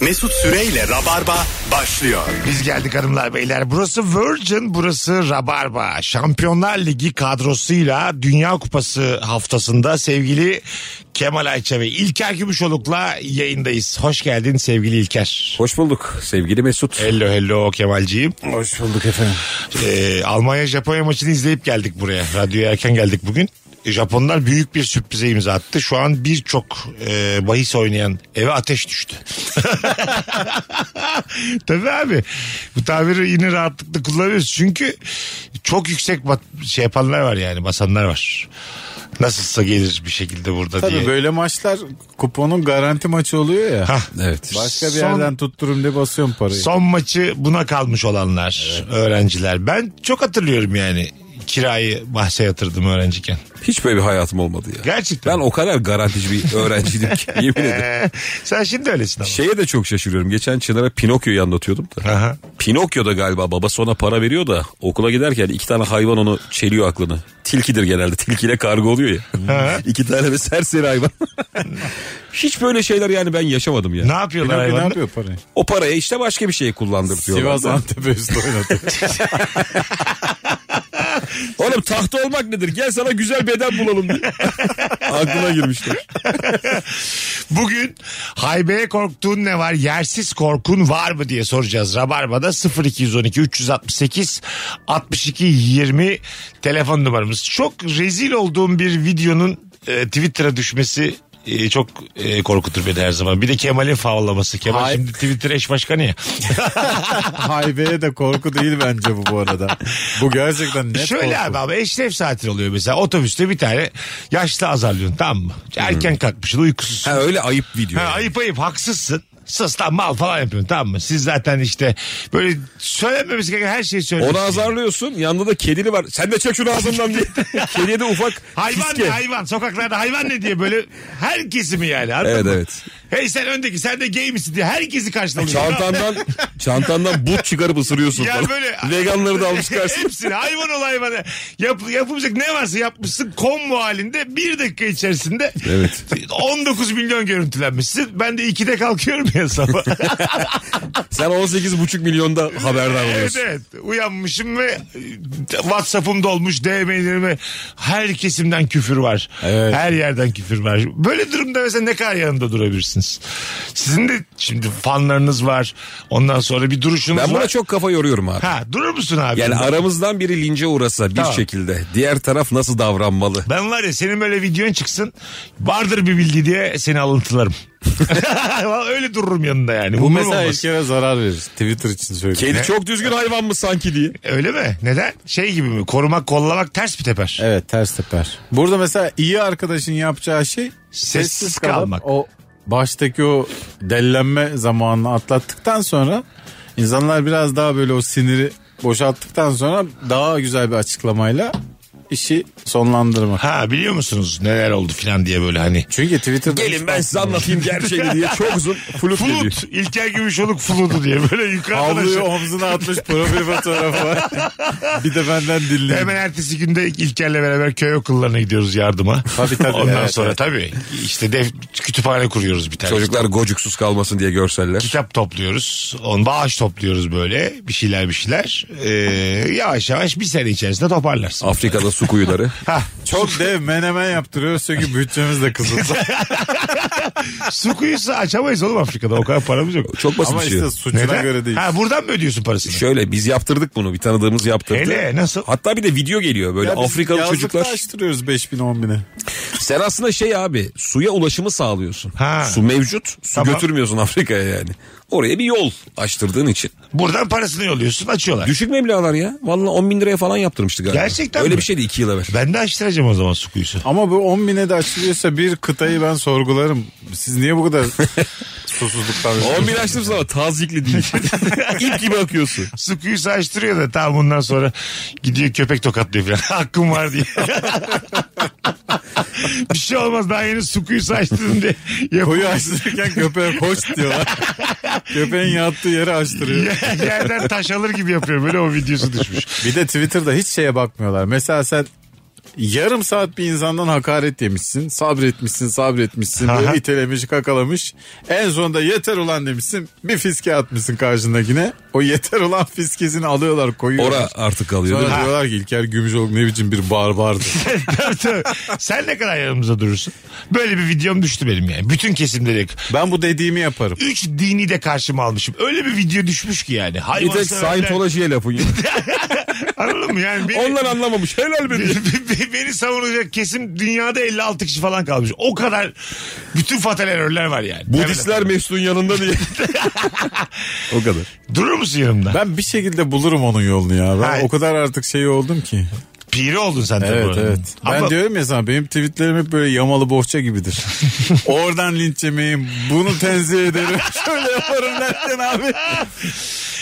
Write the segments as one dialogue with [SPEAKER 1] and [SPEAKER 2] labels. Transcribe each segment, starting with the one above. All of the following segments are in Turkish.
[SPEAKER 1] Mesut Süreyle Rabarba başlıyor.
[SPEAKER 2] Biz geldik hanımlar beyler. Burası Virgin, burası Rabarba. Şampiyonlar Ligi kadrosuyla Dünya Kupası haftasında sevgili Kemal Ayça ve İlker Gümüşoluk'la yayındayız. Hoş geldin sevgili İlker.
[SPEAKER 3] Hoş bulduk sevgili Mesut.
[SPEAKER 2] Hello hello Kemalciğim.
[SPEAKER 3] Hoş bulduk efendim.
[SPEAKER 2] Ee, Almanya Japonya maçını izleyip geldik buraya. Radyoya erken geldik bugün. E, Japonlar büyük bir sürprize imza attı. Şu an birçok e, bahis oynayan eve ateş düştü. Tabii abi. Bu tabiri yine rahatlıkla kullanıyoruz. Çünkü çok yüksek bat- şey yapanlar var yani basanlar var. Nasılsa gelir bir şekilde burada
[SPEAKER 4] Tabii
[SPEAKER 2] diye.
[SPEAKER 4] böyle maçlar kuponun garanti maçı oluyor ya.
[SPEAKER 2] Hah.
[SPEAKER 3] Evet.
[SPEAKER 4] Başka bir
[SPEAKER 2] Son-
[SPEAKER 4] yerden tutturum diye basıyorum parayı.
[SPEAKER 2] Son maçı buna kalmış olanlar, öğrenciler. Ben çok hatırlıyorum yani kirayı bahse yatırdım öğrenciyken.
[SPEAKER 3] Hiç böyle bir hayatım olmadı ya.
[SPEAKER 2] Gerçekten.
[SPEAKER 3] Ben o kadar garantici bir öğrenciydim ki yemin ederim.
[SPEAKER 2] Sen şimdi öylesin ama.
[SPEAKER 3] Şeye de çok şaşırıyorum. Geçen Çınar'a Pinokyo'yu anlatıyordum da.
[SPEAKER 2] Aha.
[SPEAKER 3] Pinokyo'da galiba babası ona para veriyor da okula giderken iki tane hayvan onu çeliyor aklını. Tilkidir genelde. Tilkiyle karga oluyor ya. iki tane de serseri hayvan. Hiç böyle şeyler yani ben yaşamadım ya.
[SPEAKER 2] Ne yapıyorlar
[SPEAKER 4] Pinokyo ne
[SPEAKER 2] hayvanlar?
[SPEAKER 4] yapıyor parayı?
[SPEAKER 3] O parayı işte başka bir şey şeye kullandırtıyorlar.
[SPEAKER 4] Sivas Antep üstü oynatıyor.
[SPEAKER 3] Oğlum tahta olmak nedir? Gel sana güzel beden bulalım diye. Aklına girmişler.
[SPEAKER 2] Bugün haybeye korktuğun ne var? Yersiz korkun var mı diye soracağız. Rabarba'da 0212 368 62 20 telefon numaramız. Çok rezil olduğum bir videonun e, Twitter'a düşmesi e, çok e, korkutur beni her zaman. Bir de Kemal'in favlaması. Kemal
[SPEAKER 4] Hay-
[SPEAKER 2] şimdi Twitter eş başkanı ya.
[SPEAKER 4] Haybe'ye de korku değil bence bu bu arada. Bu gerçekten net
[SPEAKER 2] Şöyle
[SPEAKER 4] korku.
[SPEAKER 2] abi ama eşref saatleri oluyor mesela. Otobüste bir tane yaşlı azarlıyorsun tamam mı? Erken kalkmışsın uykusuzsun.
[SPEAKER 3] Ha öyle ayıp video.
[SPEAKER 2] Ha,
[SPEAKER 3] yani.
[SPEAKER 2] ayıp ayıp haksızsın. Sus lan mal falan yapıyorsun tamam mı? Siz zaten işte böyle söylememiz gereken her şeyi söylüyorsun.
[SPEAKER 3] Onu azarlıyorsun. Yanında da kedili var. Sen de çek şunu ağzından diye. Kediye de ufak
[SPEAKER 2] Hayvan ne
[SPEAKER 3] fiske.
[SPEAKER 2] hayvan sokaklarda hayvan ne diye böyle herkesi mi yani anladın
[SPEAKER 3] Evet
[SPEAKER 2] mı?
[SPEAKER 3] evet.
[SPEAKER 2] Hey sen öndeki sen de gay misin diye herkesi karşılamış.
[SPEAKER 3] Çantandan çantandan but çıkarıp ısırıyorsun
[SPEAKER 2] Ya
[SPEAKER 3] falan.
[SPEAKER 2] böyle-
[SPEAKER 3] Veganları da almış karşısına.
[SPEAKER 2] Hepsini hayvan ol hayvana. Yap, yapılacak ne varsa yapmışsın kombo halinde bir dakika içerisinde
[SPEAKER 3] Evet.
[SPEAKER 2] 19 milyon görüntülenmişsin. Ben de 2'de kalkıyorum ya sabah.
[SPEAKER 3] Sen 18,5 milyonda haberdar
[SPEAKER 2] Evet
[SPEAKER 3] oluyorsun.
[SPEAKER 2] evet uyanmışım ve e, Whatsapp'ım dolmuş DM'lerime her kesimden küfür var.
[SPEAKER 3] Evet.
[SPEAKER 2] Her yerden küfür var. Böyle durumda mesela ne kadar yanında durabilirsiniz? Sizin de şimdi fanlarınız var. Ondan sonra bir duruşunuz
[SPEAKER 3] Ben
[SPEAKER 2] var.
[SPEAKER 3] buna çok kafa yoruyorum abi.
[SPEAKER 2] Ha durur musun abi?
[SPEAKER 3] Yani aramızdan biri lince uğrasa bir
[SPEAKER 2] Tamam.
[SPEAKER 3] şekilde diğer taraf nasıl davranmalı?
[SPEAKER 2] ben var ya senin böyle videon çıksın vardır bir bilgi diye seni alıntılarım. Vallahi Öyle dururum yanında yani.
[SPEAKER 4] Bu
[SPEAKER 2] Umurum
[SPEAKER 4] mesela
[SPEAKER 2] olmaz.
[SPEAKER 4] ilk kere zarar verir. Twitter için söylüyorum.
[SPEAKER 3] Kedi çok düzgün hayvan mı sanki diye.
[SPEAKER 2] Öyle mi? Neden? Şey gibi mi? Korumak kollamak ters bir teper.
[SPEAKER 4] Evet ters teper. Burada mesela iyi arkadaşın yapacağı şey sessiz, kalıp
[SPEAKER 2] kalmak.
[SPEAKER 4] O baştaki o dellenme zamanını atlattıktan sonra insanlar biraz daha böyle o siniri boşalttıktan sonra daha güzel bir açıklamayla işi sonlandırmak.
[SPEAKER 2] Ha biliyor musunuz neler oldu filan diye böyle hani
[SPEAKER 4] Çünkü Twitter'da hiç
[SPEAKER 3] Gelin ben size
[SPEAKER 4] bakmıyorum.
[SPEAKER 3] anlatayım gerçeğini diye çok uzun flut geliyor.
[SPEAKER 2] Flut. İlker Gümüşoluk flutu diye böyle yukarıdan
[SPEAKER 4] Havluyu
[SPEAKER 2] aşağı.
[SPEAKER 4] omzuna atmış profil fotoğrafı var. bir de benden dinleyin.
[SPEAKER 2] Hemen ertesi günde İlker'le beraber köy okullarına gidiyoruz yardıma.
[SPEAKER 4] Tabii, tabii.
[SPEAKER 2] Ondan
[SPEAKER 4] Evet,
[SPEAKER 2] sonra
[SPEAKER 4] evet.
[SPEAKER 2] tabii işte dev, kütüphane kuruyoruz bir tane.
[SPEAKER 3] Çocuklar gocuksuz kalmasın diye görseller.
[SPEAKER 2] Kitap topluyoruz. On bağış topluyoruz böyle. Bir şeyler bir şeyler. Ee, yavaş yavaş bir sene içerisinde toparlarsın.
[SPEAKER 3] Afrika'da su kuyuları.
[SPEAKER 2] Hah,
[SPEAKER 4] Çok dev menemen yaptırıyoruz çünkü bütçemiz de kısıtlı.
[SPEAKER 2] su kuyusu açamayız oğlum Afrika'da. O kadar paramız yok.
[SPEAKER 3] Çok basit
[SPEAKER 4] Ama
[SPEAKER 3] bir şey.
[SPEAKER 4] işte suçuna göre değil.
[SPEAKER 2] Ha, buradan mı ödüyorsun parasını?
[SPEAKER 3] Şöyle biz yaptırdık bunu bir tanıdığımız yaptırdı.
[SPEAKER 2] Hele, nasıl?
[SPEAKER 3] Hatta bir de video geliyor böyle
[SPEAKER 4] Ya biz
[SPEAKER 3] Afrikalı
[SPEAKER 4] yazlıkta
[SPEAKER 3] çocuklar.
[SPEAKER 4] açtırıyoruz 5000 10000'e.
[SPEAKER 3] Sen aslında şey abi suya ulaşımı sağlıyorsun.
[SPEAKER 2] Ha.
[SPEAKER 3] Su mevcut su
[SPEAKER 2] Tamam.
[SPEAKER 3] götürmüyorsun Afrika'ya yani. Oraya bir yol açtırdığın için.
[SPEAKER 2] Buradan parasını yolluyorsun açıyorlar.
[SPEAKER 3] Düşük meblağlar ya. Vallahi 10 bin liraya falan yaptırmıştı galiba.
[SPEAKER 2] Gerçekten
[SPEAKER 3] Öyle
[SPEAKER 2] mi?
[SPEAKER 3] bir şey şeydi 2 yıl evvel.
[SPEAKER 2] Ben de açtıracağım o zaman su kuyusu.
[SPEAKER 4] Ama bu 10 bine de açılıyorsa bir kıtayı ben sorgularım. Siz niye bu kadar susuzluktan...
[SPEAKER 3] 10 bin açtım sana tazikli değil. İlk gibi akıyorsun.
[SPEAKER 2] Su kuyusu açtırıyor da tamam bundan sonra gidiyor köpek tokatlıyor falan. Hakkım var diye. bir şey olmaz daha yeni su kuyusu açtırdım diye.
[SPEAKER 4] Koyu
[SPEAKER 2] Yapıyor.
[SPEAKER 4] açtırırken köpeğe koş diyorlar. Köpeğin yattığı yeri açtırıyor.
[SPEAKER 2] Yerden taş alır gibi yapıyor. Böyle o videosu düşmüş.
[SPEAKER 4] Bir de Twitter'da hiç şeye bakmıyorlar. Mesela sen yarım saat bir insandan hakaret yemişsin. Sabretmişsin, sabretmişsin.
[SPEAKER 2] Aha.
[SPEAKER 4] Böyle itelemiş, kakalamış. En sonunda yeter ulan demişsin. Bir fiske atmışsın karşındakine. O yeter ulan fiskesini alıyorlar, koyuyorlar.
[SPEAKER 3] Ora artık kalıyor
[SPEAKER 4] Sonra
[SPEAKER 3] değil mi?
[SPEAKER 4] diyorlar ki İlker Gümüşoğlu ne biçim bir barbardı.
[SPEAKER 2] Tabii, tabii. Sen ne kadar yanımıza durursun? Böyle bir videom düştü benim yani. Bütün kesimleri.
[SPEAKER 4] ben bu dediğimi yaparım.
[SPEAKER 2] Üç dini de karşıma almışım. Öyle bir video düşmüş ki yani.
[SPEAKER 3] Bir
[SPEAKER 2] Hayvan
[SPEAKER 3] tek Scientology'ye lafın yok.
[SPEAKER 2] Anladın mı? Yani beni,
[SPEAKER 3] Onlar anlamamış. Helal be diye.
[SPEAKER 2] beni, beni savunacak kesim dünyada 56 kişi falan kalmış. O kadar bütün fatal erörler var yani.
[SPEAKER 3] Budistler Mesut'un yanında diye. o kadar.
[SPEAKER 2] Evet. Durur musun yanımda?
[SPEAKER 4] Ben bir şekilde bulurum onun yolunu ya. Ben
[SPEAKER 2] Hayır.
[SPEAKER 4] o kadar artık şey oldum ki.
[SPEAKER 2] Piri oldun sen de
[SPEAKER 4] Evet
[SPEAKER 2] bu arada.
[SPEAKER 4] evet. Ben
[SPEAKER 2] Ama
[SPEAKER 4] diyorum ya sana benim tweetlerim hep böyle yamalı bohça gibidir. Oradan linç yemeyim. Bunu tenzih ederim. Şöyle yaparım derken abi.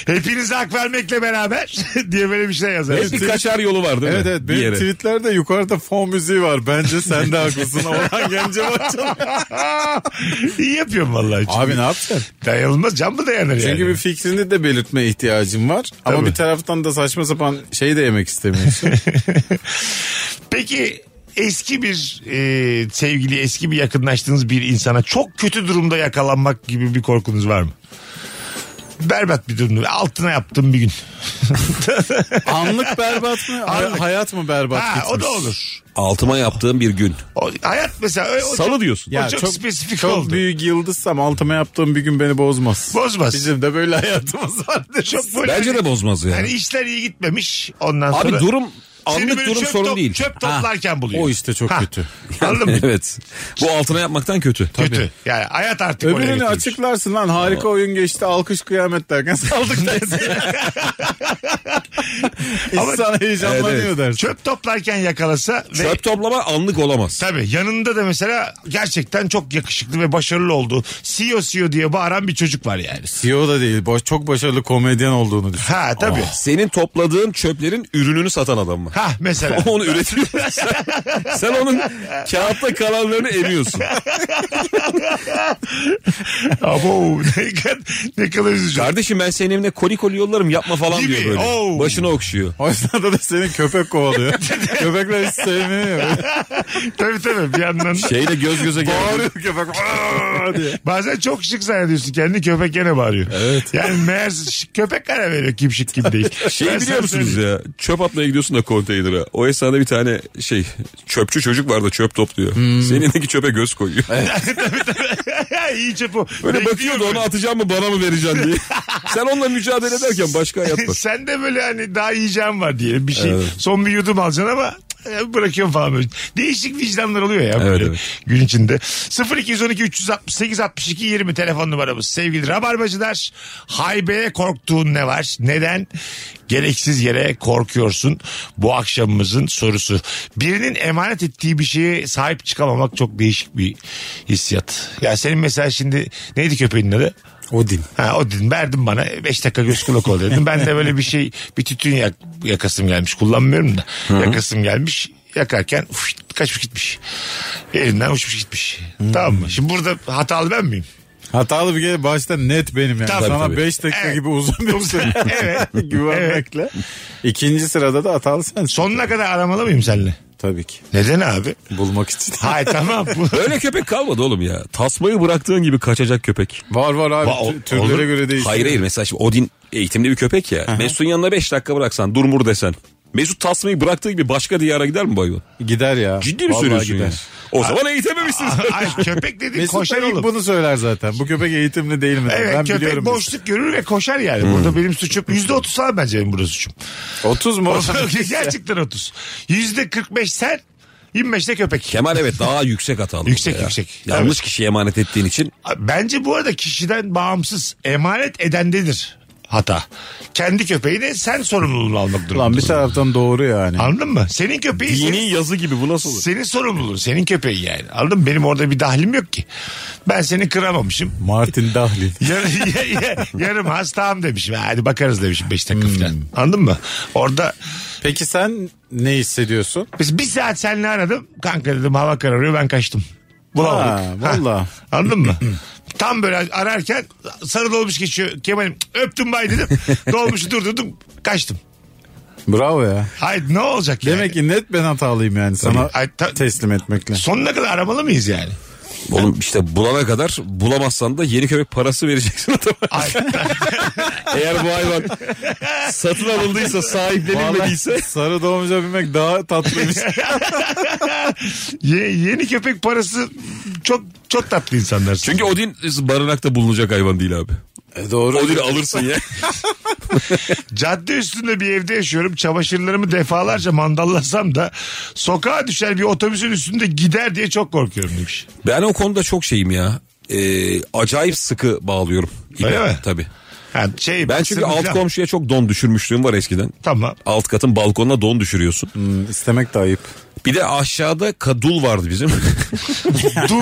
[SPEAKER 2] hepinize hak vermekle beraber diye böyle bir şey yazar.
[SPEAKER 3] Hep bir kaçar yolu var değil mi?
[SPEAKER 4] Evet evet.
[SPEAKER 3] Bir
[SPEAKER 4] Benim
[SPEAKER 3] yere.
[SPEAKER 4] tweetlerde yukarıda fon müziği var. Bence sen de haklısın. Orhan Gencebay çalıyor.
[SPEAKER 2] İyi yapıyorum vallahi.
[SPEAKER 4] Abi ne yapacaksın?
[SPEAKER 2] Dayanılmaz can mı dayanır yani?
[SPEAKER 4] Çünkü bir fikrini de belirtme ihtiyacım var. Ama
[SPEAKER 2] Tabii.
[SPEAKER 4] bir taraftan da saçma sapan şey de yemek istemiyorsun.
[SPEAKER 2] Peki eski bir e, sevgili, eski bir yakınlaştığınız bir insana çok kötü durumda yakalanmak gibi bir korkunuz var mı? Berbat bir durumda. Altına yaptım bir gün.
[SPEAKER 4] Anlık berbat mı? Hay-
[SPEAKER 2] Anlık.
[SPEAKER 4] Hayat mı berbat
[SPEAKER 2] ha,
[SPEAKER 4] gitmiş?
[SPEAKER 2] o da olur.
[SPEAKER 3] Altıma yaptığım bir gün.
[SPEAKER 2] O, hayat mesela. O, o
[SPEAKER 3] Salı
[SPEAKER 2] çok,
[SPEAKER 3] diyorsun.
[SPEAKER 2] o çok, spesifik
[SPEAKER 4] çok
[SPEAKER 2] oldu.
[SPEAKER 4] büyük yıldızsam altıma yaptığım bir gün beni bozmaz.
[SPEAKER 2] Bozmaz.
[SPEAKER 4] Bizim de böyle hayatımız vardır.
[SPEAKER 2] Çok böyle.
[SPEAKER 3] Bence de bozmaz yani.
[SPEAKER 2] Yani işler iyi gitmemiş ondan
[SPEAKER 3] Abi
[SPEAKER 2] sonra.
[SPEAKER 3] durum
[SPEAKER 2] Seni
[SPEAKER 3] anlık
[SPEAKER 2] böyle
[SPEAKER 3] durum
[SPEAKER 2] çöp
[SPEAKER 3] sorun
[SPEAKER 2] top-
[SPEAKER 3] değil.
[SPEAKER 2] Çöp
[SPEAKER 3] Ha.
[SPEAKER 2] toplarken buluyor.
[SPEAKER 4] O işte çok
[SPEAKER 2] Ha.
[SPEAKER 4] kötü.
[SPEAKER 2] Anladın mı?
[SPEAKER 3] evet. Bu altına yapmaktan kötü.
[SPEAKER 2] kötü. Yani hayat artık oraya
[SPEAKER 4] Öbürünü
[SPEAKER 2] götürmüş.
[SPEAKER 4] açıklarsın lan harika oyun geçti alkış kıyamet derken saldık dersin.
[SPEAKER 2] Ama-
[SPEAKER 4] İnsan heyecanlanıyor
[SPEAKER 3] Evet, evet.
[SPEAKER 4] dersin.
[SPEAKER 2] Çöp toplarken yakalasa ve
[SPEAKER 3] Çöp toplama anlık olamaz.
[SPEAKER 2] Tabii yanında da mesela gerçekten çok yakışıklı ve başarılı olduğu E CEO CEO diye bağıran bir çocuk var yani.
[SPEAKER 4] CEO da değil boş, çok başarılı komedyen olduğunu düşün.
[SPEAKER 2] Ha tabii.
[SPEAKER 3] Ah, Senin topladığın çöplerin ürününü satan adam mı?
[SPEAKER 2] Ha mesela.
[SPEAKER 3] Onu üretiyor. sen, sen onun kağıtta kalanlarını emiyorsun.
[SPEAKER 2] Abo ne kadar, ne kadar üzücü.
[SPEAKER 3] Kardeşim ben senin evine koli koli yollarım yapma falan
[SPEAKER 2] Gibi,
[SPEAKER 3] diyor böyle.
[SPEAKER 2] oo.
[SPEAKER 3] Başına okşuyor.
[SPEAKER 4] O yüzden de senin köpek kovalıyor. Köpekler hiç sevmiyor.
[SPEAKER 2] tabii tabii bir yandan da.
[SPEAKER 3] Şeyle göz göze
[SPEAKER 4] Bağırıyor
[SPEAKER 3] geldi.
[SPEAKER 4] köpek. "Aa!" diye.
[SPEAKER 2] Bazen çok şık zannediyorsun kendini köpek gene bağırıyor. Evet. Yani meğer şık- köpek karar veriyor kim şık kim değil. Ben
[SPEAKER 3] Şey
[SPEAKER 2] sana
[SPEAKER 3] biliyor musunuz
[SPEAKER 2] söyleyeyim.
[SPEAKER 3] ya çöp atmaya gidiyorsun da konteynere. O esnada bir tane şey çöpçü çocuk var da çöp topluyor. Senindeki çöpe göz koyuyor.
[SPEAKER 2] İyi çöp o.
[SPEAKER 3] Böyle
[SPEAKER 2] Bekliyor
[SPEAKER 3] bakıyor da
[SPEAKER 2] böyle.
[SPEAKER 3] onu atacağım mı bana mı vereceksin diye. Sen onunla mücadele ederken başka hayat var.
[SPEAKER 2] Sen de böyle hani daha yiyeceğim var diye bir şey. Son bir yudum alacaksın ama e, bırakıyorum falan böyle. Değişik vicdanlar oluyor ya böyle
[SPEAKER 3] Evet, evet.
[SPEAKER 2] gün içinde. 0212 368 62 20 telefon numaramız. Sevgili Rabarbacılar haybeye korktuğun ne var? Neden? Gereksiz yere korkuyorsun bu akşamımızın sorusu. Birinin emanet ettiği bir şeye sahip çıkamamak çok değişik bir hissiyat. Ya senin mesela şimdi neydi köpeğin adı?
[SPEAKER 4] Odin.
[SPEAKER 2] Ha, o dedim verdim bana 5 dakika göz kulak ol dedim. Ben de böyle bir şey bir tütün yak, yakasım gelmiş kullanmıyorum da yakasım gelmiş yakarken uf, kaçmış gitmiş. Elimden uçmuş gitmiş. Tamam mı? Şimdi burada hatalı ben miyim?
[SPEAKER 4] Hatalı bir kere başta net benim yani.
[SPEAKER 2] Tabii,
[SPEAKER 4] Sana
[SPEAKER 3] tabii.
[SPEAKER 4] 5 dakika
[SPEAKER 2] Evet.
[SPEAKER 4] gibi uzun bir süre
[SPEAKER 2] Evet.
[SPEAKER 4] güvenmekle. İkinci sırada da hatalı sensin.
[SPEAKER 2] Sonuna kadar aramalı mıyım seninle?
[SPEAKER 4] Tabii ki.
[SPEAKER 2] Neden abi?
[SPEAKER 4] Bulmak için.
[SPEAKER 2] Hayır tamam. Bu-
[SPEAKER 3] Öyle köpek kalmadı oğlum ya. Tasmayı bıraktığın gibi kaçacak köpek.
[SPEAKER 4] Var var abi.
[SPEAKER 2] Va-
[SPEAKER 4] Tü- Türlere
[SPEAKER 2] olur.
[SPEAKER 4] göre değişiyor.
[SPEAKER 3] Hayır hayır mesela şimdi Odin eğitimli bir köpek ya. Mesut'un yanına 5 dakika bıraksan durmur desen. Mesut tasmayı bıraktığı gibi başka diyara gider mi bayvan?
[SPEAKER 4] Gider ya.
[SPEAKER 3] Ciddi mi
[SPEAKER 4] Vallahi
[SPEAKER 3] söylüyorsun
[SPEAKER 4] gider.
[SPEAKER 3] yani? O zaman eğitememişsiniz.
[SPEAKER 2] Ay, köpek dediğin
[SPEAKER 4] Mesut da
[SPEAKER 2] koşar oğlum.
[SPEAKER 4] ilk bunu söyler zaten. Bu köpek eğitimli değil mi? der.
[SPEAKER 2] Evet
[SPEAKER 4] ben
[SPEAKER 2] köpek
[SPEAKER 4] biliyorum.
[SPEAKER 2] boşluk görür ve koşar yani. Burada benim suçum %30 falan bence benim burada suçum.
[SPEAKER 4] 30 mu?
[SPEAKER 2] Gerçekten 30. %45 sen 25 de köpek.
[SPEAKER 3] Kemal evet daha yüksek hatalı.
[SPEAKER 2] Yüksek,
[SPEAKER 3] ya.
[SPEAKER 2] yüksek.
[SPEAKER 3] Yanlış
[SPEAKER 2] Evet.
[SPEAKER 3] kişiye emanet ettiğin için
[SPEAKER 2] Bence bu arada kişiden bağımsız emanet edendedir hata. kendi köpeğini sen sorumluluğunu almak durumunda.
[SPEAKER 4] Lan bir taraftan doğru yani.
[SPEAKER 2] Anladın mı? Senin köpeği senin-
[SPEAKER 3] Dini yazı gibi bu nasıl olur?
[SPEAKER 2] senin sorumluluğun, senin köpeğin yani. Anladın mı? Benim orada bir dahlim yok ki. Ben seni kıramamışım.
[SPEAKER 4] Martin Dahlin.
[SPEAKER 2] Yar, ya- ya- yarım hastam demişim. Hadi bakarız demişim 5
[SPEAKER 4] Hmm.
[SPEAKER 2] dakika falan. Anladın mı? Orada
[SPEAKER 4] Peki sen ne hissediyorsun?
[SPEAKER 2] biz bir saat seninle aradım. Kanka dedim hava kararıyor ben kaçtım. Bulamadık.
[SPEAKER 4] Ha,
[SPEAKER 2] Ha,
[SPEAKER 4] vallahi.
[SPEAKER 2] Anladın mı? Tam böyle ararken sarı dolmuş geçiyor. Kemal'im öptüm bay dedim. Dolmuşu durdurdum kaçtım.
[SPEAKER 4] Bravo ya.
[SPEAKER 2] Hayır ne olacak yani?
[SPEAKER 4] Demek ki net ben hatalıyım yani sana
[SPEAKER 2] Ay, ta-
[SPEAKER 4] teslim etmekle.
[SPEAKER 2] Sonuna kadar aramalı mıyız yani?
[SPEAKER 3] Oğlum işte bulana kadar bulamazsan da yeni köpek parası vereceksin adama.
[SPEAKER 2] Ay,
[SPEAKER 3] Eğer bu hayvan satın alındıysa sahiplenilmediyse.
[SPEAKER 4] Vallahi sarı doğumca binmek daha tatlıymış.
[SPEAKER 2] ye- yeni köpek parası çok çok tatlı insanlar.
[SPEAKER 3] Çünkü Odin barınakta bulunacak hayvan değil abi.
[SPEAKER 4] E, doğru.
[SPEAKER 3] Odin'i alırsın ya.
[SPEAKER 2] Cadde üstünde bir evde yaşıyorum. Çamaşırlarımı defalarca mandallasam da sokağa düşer bir otobüsün üstünde gider diye çok korkuyorum demiş.
[SPEAKER 3] Ben o konuda çok şeyim ya. Ee, acayip sıkı bağlıyorum. ipe.
[SPEAKER 2] Öyle mi?
[SPEAKER 3] Tabii.
[SPEAKER 2] Yani şey,
[SPEAKER 3] Ben çünkü
[SPEAKER 2] sırf
[SPEAKER 3] alt
[SPEAKER 2] falan-
[SPEAKER 3] komşuya çok don düşürmüşlüğüm var eskiden.
[SPEAKER 2] Tamam.
[SPEAKER 3] Alt katın balkonuna don düşürüyorsun.
[SPEAKER 4] İstemek Hmm, de ayıp.
[SPEAKER 3] Bir de aşağıda kadul vardı bizim.
[SPEAKER 2] Dul.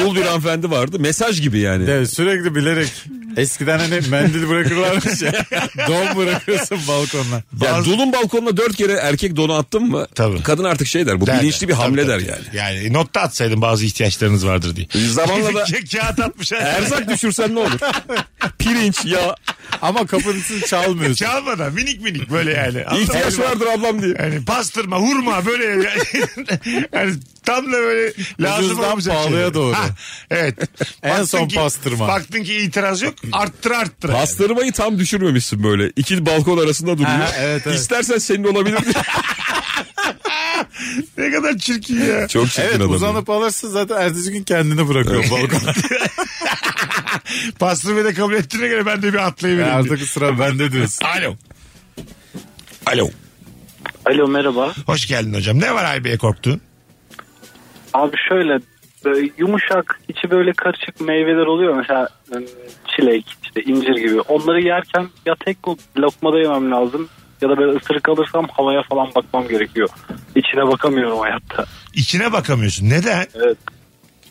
[SPEAKER 3] dul bir hanımefendi vardı. Mesaj gibi yani.
[SPEAKER 4] Ya sürekli bilerek eskiden hani mendil bırakırlarmış ya. Don bırakırsın balkonla.
[SPEAKER 3] Ya dulun balkonuna dört kere erkek donu attın mı?
[SPEAKER 2] Tabii.
[SPEAKER 3] Kadın artık şey der. Bu
[SPEAKER 2] Der,
[SPEAKER 3] bilinçli bir
[SPEAKER 2] tabii,
[SPEAKER 3] hamle
[SPEAKER 2] tabii.
[SPEAKER 3] der yani.
[SPEAKER 2] Yani e, notta atsaydın bazı ihtiyaçlarınız vardır diye.
[SPEAKER 3] E, Zamanla da
[SPEAKER 2] Ka- Kağıt atmış.
[SPEAKER 3] erzak düşürsen ne olur? Pirinç ya.
[SPEAKER 4] Ama kapısını çalmıyorsun.
[SPEAKER 2] Çalmadan minik minik böyle yani. Anladın mı?
[SPEAKER 3] İhtiyaç vardır ablam diye.
[SPEAKER 2] Yani pastırma, hurma böyle yani, yani tam da böyle lazım
[SPEAKER 4] Ucuzdan
[SPEAKER 2] olmayacak
[SPEAKER 4] pahalıya
[SPEAKER 2] şeyler.
[SPEAKER 4] doğru.
[SPEAKER 2] evet.
[SPEAKER 4] En
[SPEAKER 2] Baktın
[SPEAKER 4] son pastırma.
[SPEAKER 2] Baktın ki itiraz yok. Arttır arttır.
[SPEAKER 3] Pastırmayı tam düşürmemişsin böyle. İki balkon arasında duruyor.
[SPEAKER 4] Ha, evet, evet.
[SPEAKER 3] İstersen senin olabilir diye.
[SPEAKER 2] Ne kadar çirkin ya.
[SPEAKER 3] Çok çirkin
[SPEAKER 4] Evet
[SPEAKER 3] adam.
[SPEAKER 4] uzanıp alırsın zaten ertesi gün kendini bırakıyor balkona.
[SPEAKER 2] Pastırmayı da kabul ettiğine göre ben de bir atlayabilirim.
[SPEAKER 4] Artık sıra bende diyorsun.
[SPEAKER 2] Alo.
[SPEAKER 3] Alo.
[SPEAKER 5] Alo merhaba.
[SPEAKER 2] Hoş geldin hocam. Ne var Aybe'ye korktuğun?
[SPEAKER 5] Abi şöyle böyle yumuşak içi böyle karışık meyveler oluyor mesela ım, çilek işte incir gibi. Onları yerken ya tek lokmada yemem lazım ya da böyle ısırık alırsam havaya falan bakmam gerekiyor. İçine bakamıyorum hayatta.
[SPEAKER 2] İçine bakamıyorsun. Neden?
[SPEAKER 5] Evet.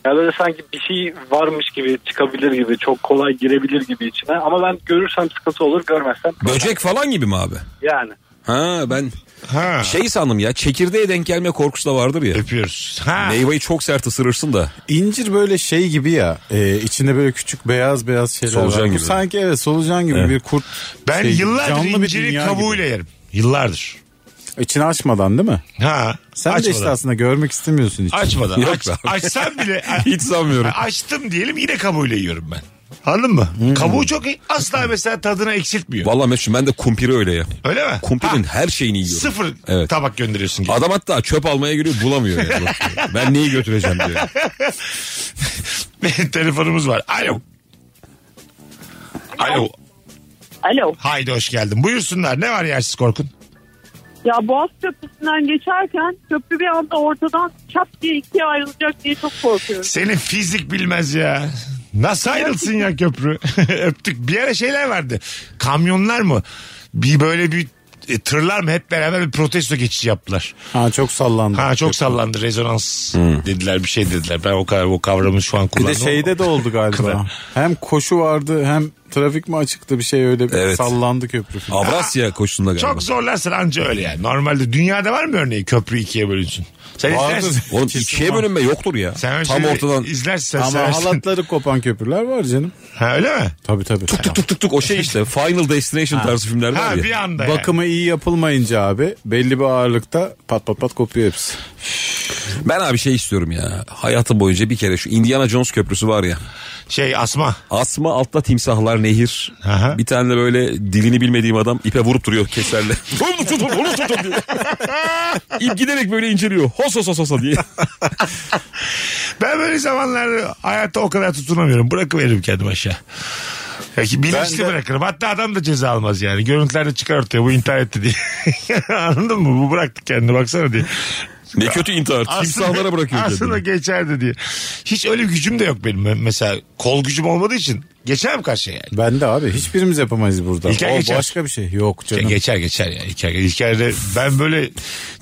[SPEAKER 5] Ya böyle sanki bir şey varmış gibi çıkabilir gibi çok kolay girebilir gibi içine ama ben görürsem sıkıntı olur görmezsem
[SPEAKER 3] Böcek falan gibi mi abi?
[SPEAKER 5] yani.
[SPEAKER 3] Ha ben
[SPEAKER 2] Ha.
[SPEAKER 3] şey sandım ya çekirdeğe denk gelme korkusu da vardır ya.
[SPEAKER 2] Öpüyoruz. Ha.
[SPEAKER 3] Meyveyi çok sert ısırırsın da.
[SPEAKER 4] İncir böyle şey gibi ya. e, içinde böyle küçük beyaz beyaz şeyler
[SPEAKER 3] Solucan
[SPEAKER 4] var. Bu
[SPEAKER 3] gibi.
[SPEAKER 4] sanki evet solucan gibi bir kurt.
[SPEAKER 2] Ben
[SPEAKER 4] şey gibi,
[SPEAKER 2] yıllardır
[SPEAKER 4] canlı bir
[SPEAKER 2] incirin
[SPEAKER 4] dünya
[SPEAKER 2] kabuğuyla yerim. Yıllardır.
[SPEAKER 4] gibi. İçini açmadan değil mi?
[SPEAKER 2] Ha.
[SPEAKER 4] Sen de işte aslında görmek istemiyorsun hiç.
[SPEAKER 2] Açmadan.
[SPEAKER 3] Yok
[SPEAKER 2] Aç,
[SPEAKER 3] be abi.
[SPEAKER 2] açsam bile.
[SPEAKER 3] Hiç sanmıyorum.
[SPEAKER 2] Açtım diyelim yine kabuğuyla yiyorum ben. Anladın mı? Kabuğu çok iyi. Asla mesela tadına eksiltmiyor.
[SPEAKER 3] Hmm. Vallahi Mesut ben de kumpiri öyle ya.
[SPEAKER 2] Öyle mi?
[SPEAKER 3] Kumpirin
[SPEAKER 2] Ha,
[SPEAKER 3] her şeyini yiyorum.
[SPEAKER 2] Sıfır
[SPEAKER 3] Evet.
[SPEAKER 2] tabak gönderiyorsun. Gibi.
[SPEAKER 3] Adam hatta çöp almaya giriyor bulamıyor. Yani. ben neyi götüreceğim diyor.
[SPEAKER 2] Telefonumuz var. Alo. Alo.
[SPEAKER 6] Alo.
[SPEAKER 2] Haydi hoş geldin. Buyursunlar. Ne var yersiz korkun?
[SPEAKER 6] Ya Boğaz Köprüsü'nden geçerken köprü bir anda ortadan çap diye ikiye ayrılacak diye çok korkuyorum.
[SPEAKER 2] Senin fizik bilmez ya. Nasıl ayrılsın ya köprü? Öptük. Bir ara şeyler vardı. Kamyonlar mı? Bir böyle bir e, tırlar mı hep beraber bir protesto geçişi yaptılar.
[SPEAKER 4] Ha çok sallandı.
[SPEAKER 2] Ha çok sallandı rezonans dediler bir şey dediler. Ben o kadar o kavramı şu an
[SPEAKER 4] bir de
[SPEAKER 2] kullanmam.
[SPEAKER 4] şeyde de oldu galiba.
[SPEAKER 2] Kıvır.
[SPEAKER 4] hem koşu vardı hem trafik mi açıktı bir şey öyle bir
[SPEAKER 3] Evet.
[SPEAKER 4] sallandı köprü. falan.
[SPEAKER 3] Avrasya koşusunda galiba.
[SPEAKER 2] Çok zorlarsın anca öyle yani. Normalde dünyada var mı örneği köprü ikiye bölünsün? Sen
[SPEAKER 4] Vardır.
[SPEAKER 2] izlersin.
[SPEAKER 3] Oğlum
[SPEAKER 4] Kesin
[SPEAKER 3] ikiye
[SPEAKER 4] var.
[SPEAKER 3] bölünme yoktur ya.
[SPEAKER 2] Sen öyle şey
[SPEAKER 3] Tam
[SPEAKER 2] şeyleri
[SPEAKER 3] ortadan
[SPEAKER 2] izlersin sen
[SPEAKER 4] Ama
[SPEAKER 2] seversin.
[SPEAKER 4] halatları kopan köprüler var canım.
[SPEAKER 2] Ha öyle mi?
[SPEAKER 4] Tabii tabii.
[SPEAKER 3] tuk tuk tuk tuk tuk o şey işte Final Destination tarzı filmler var
[SPEAKER 2] Ha
[SPEAKER 3] ya.
[SPEAKER 2] bir anda yani.
[SPEAKER 4] Bakımı iyi yapılmayınca abi belli bir ağırlıkta pat pat pat kopuyor hepsi.
[SPEAKER 3] Ben abi şey istiyorum ya. Hayatım boyunca bir kere şu Indiana Jones köprüsü var ya.
[SPEAKER 2] Şey asma.
[SPEAKER 3] Asma altta timsahlar nehir.
[SPEAKER 2] Aha.
[SPEAKER 3] Bir tane de böyle dilini bilmediğim adam ipe vurup duruyor keserle. Onu tutun onu tutun diye. İp giderek böyle inceliyor. Hos hos hos hos diye.
[SPEAKER 2] Ben böyle zamanlarda hayatta o kadar tutunamıyorum. Bırakıveririm kendimi aşağı. Ya ki bilinçli
[SPEAKER 4] Ben de-
[SPEAKER 2] bırakırım. Hatta adam da ceza almaz yani. Görüntülerde çıkar ortaya bu intihar etti diye. Anladın mı? Bu bıraktı kendini baksana diye.
[SPEAKER 3] Ne kötü intihar.
[SPEAKER 2] Aslında-
[SPEAKER 3] Timsahlara bırakıyor
[SPEAKER 2] Aslında
[SPEAKER 3] kendini.
[SPEAKER 2] geçerdi diye. Hiç öyle bir gücüm de yok benim. Ben Mesela kol gücüm olmadığı için Geçer mi karşıya yani?
[SPEAKER 4] Ben de abi hiçbirimiz yapamayız burada.
[SPEAKER 2] İlker
[SPEAKER 4] o
[SPEAKER 2] geçer.
[SPEAKER 4] başka bir şey. Yok canım.
[SPEAKER 2] Geçer geçer yani. İlker, İlker de ben böyle...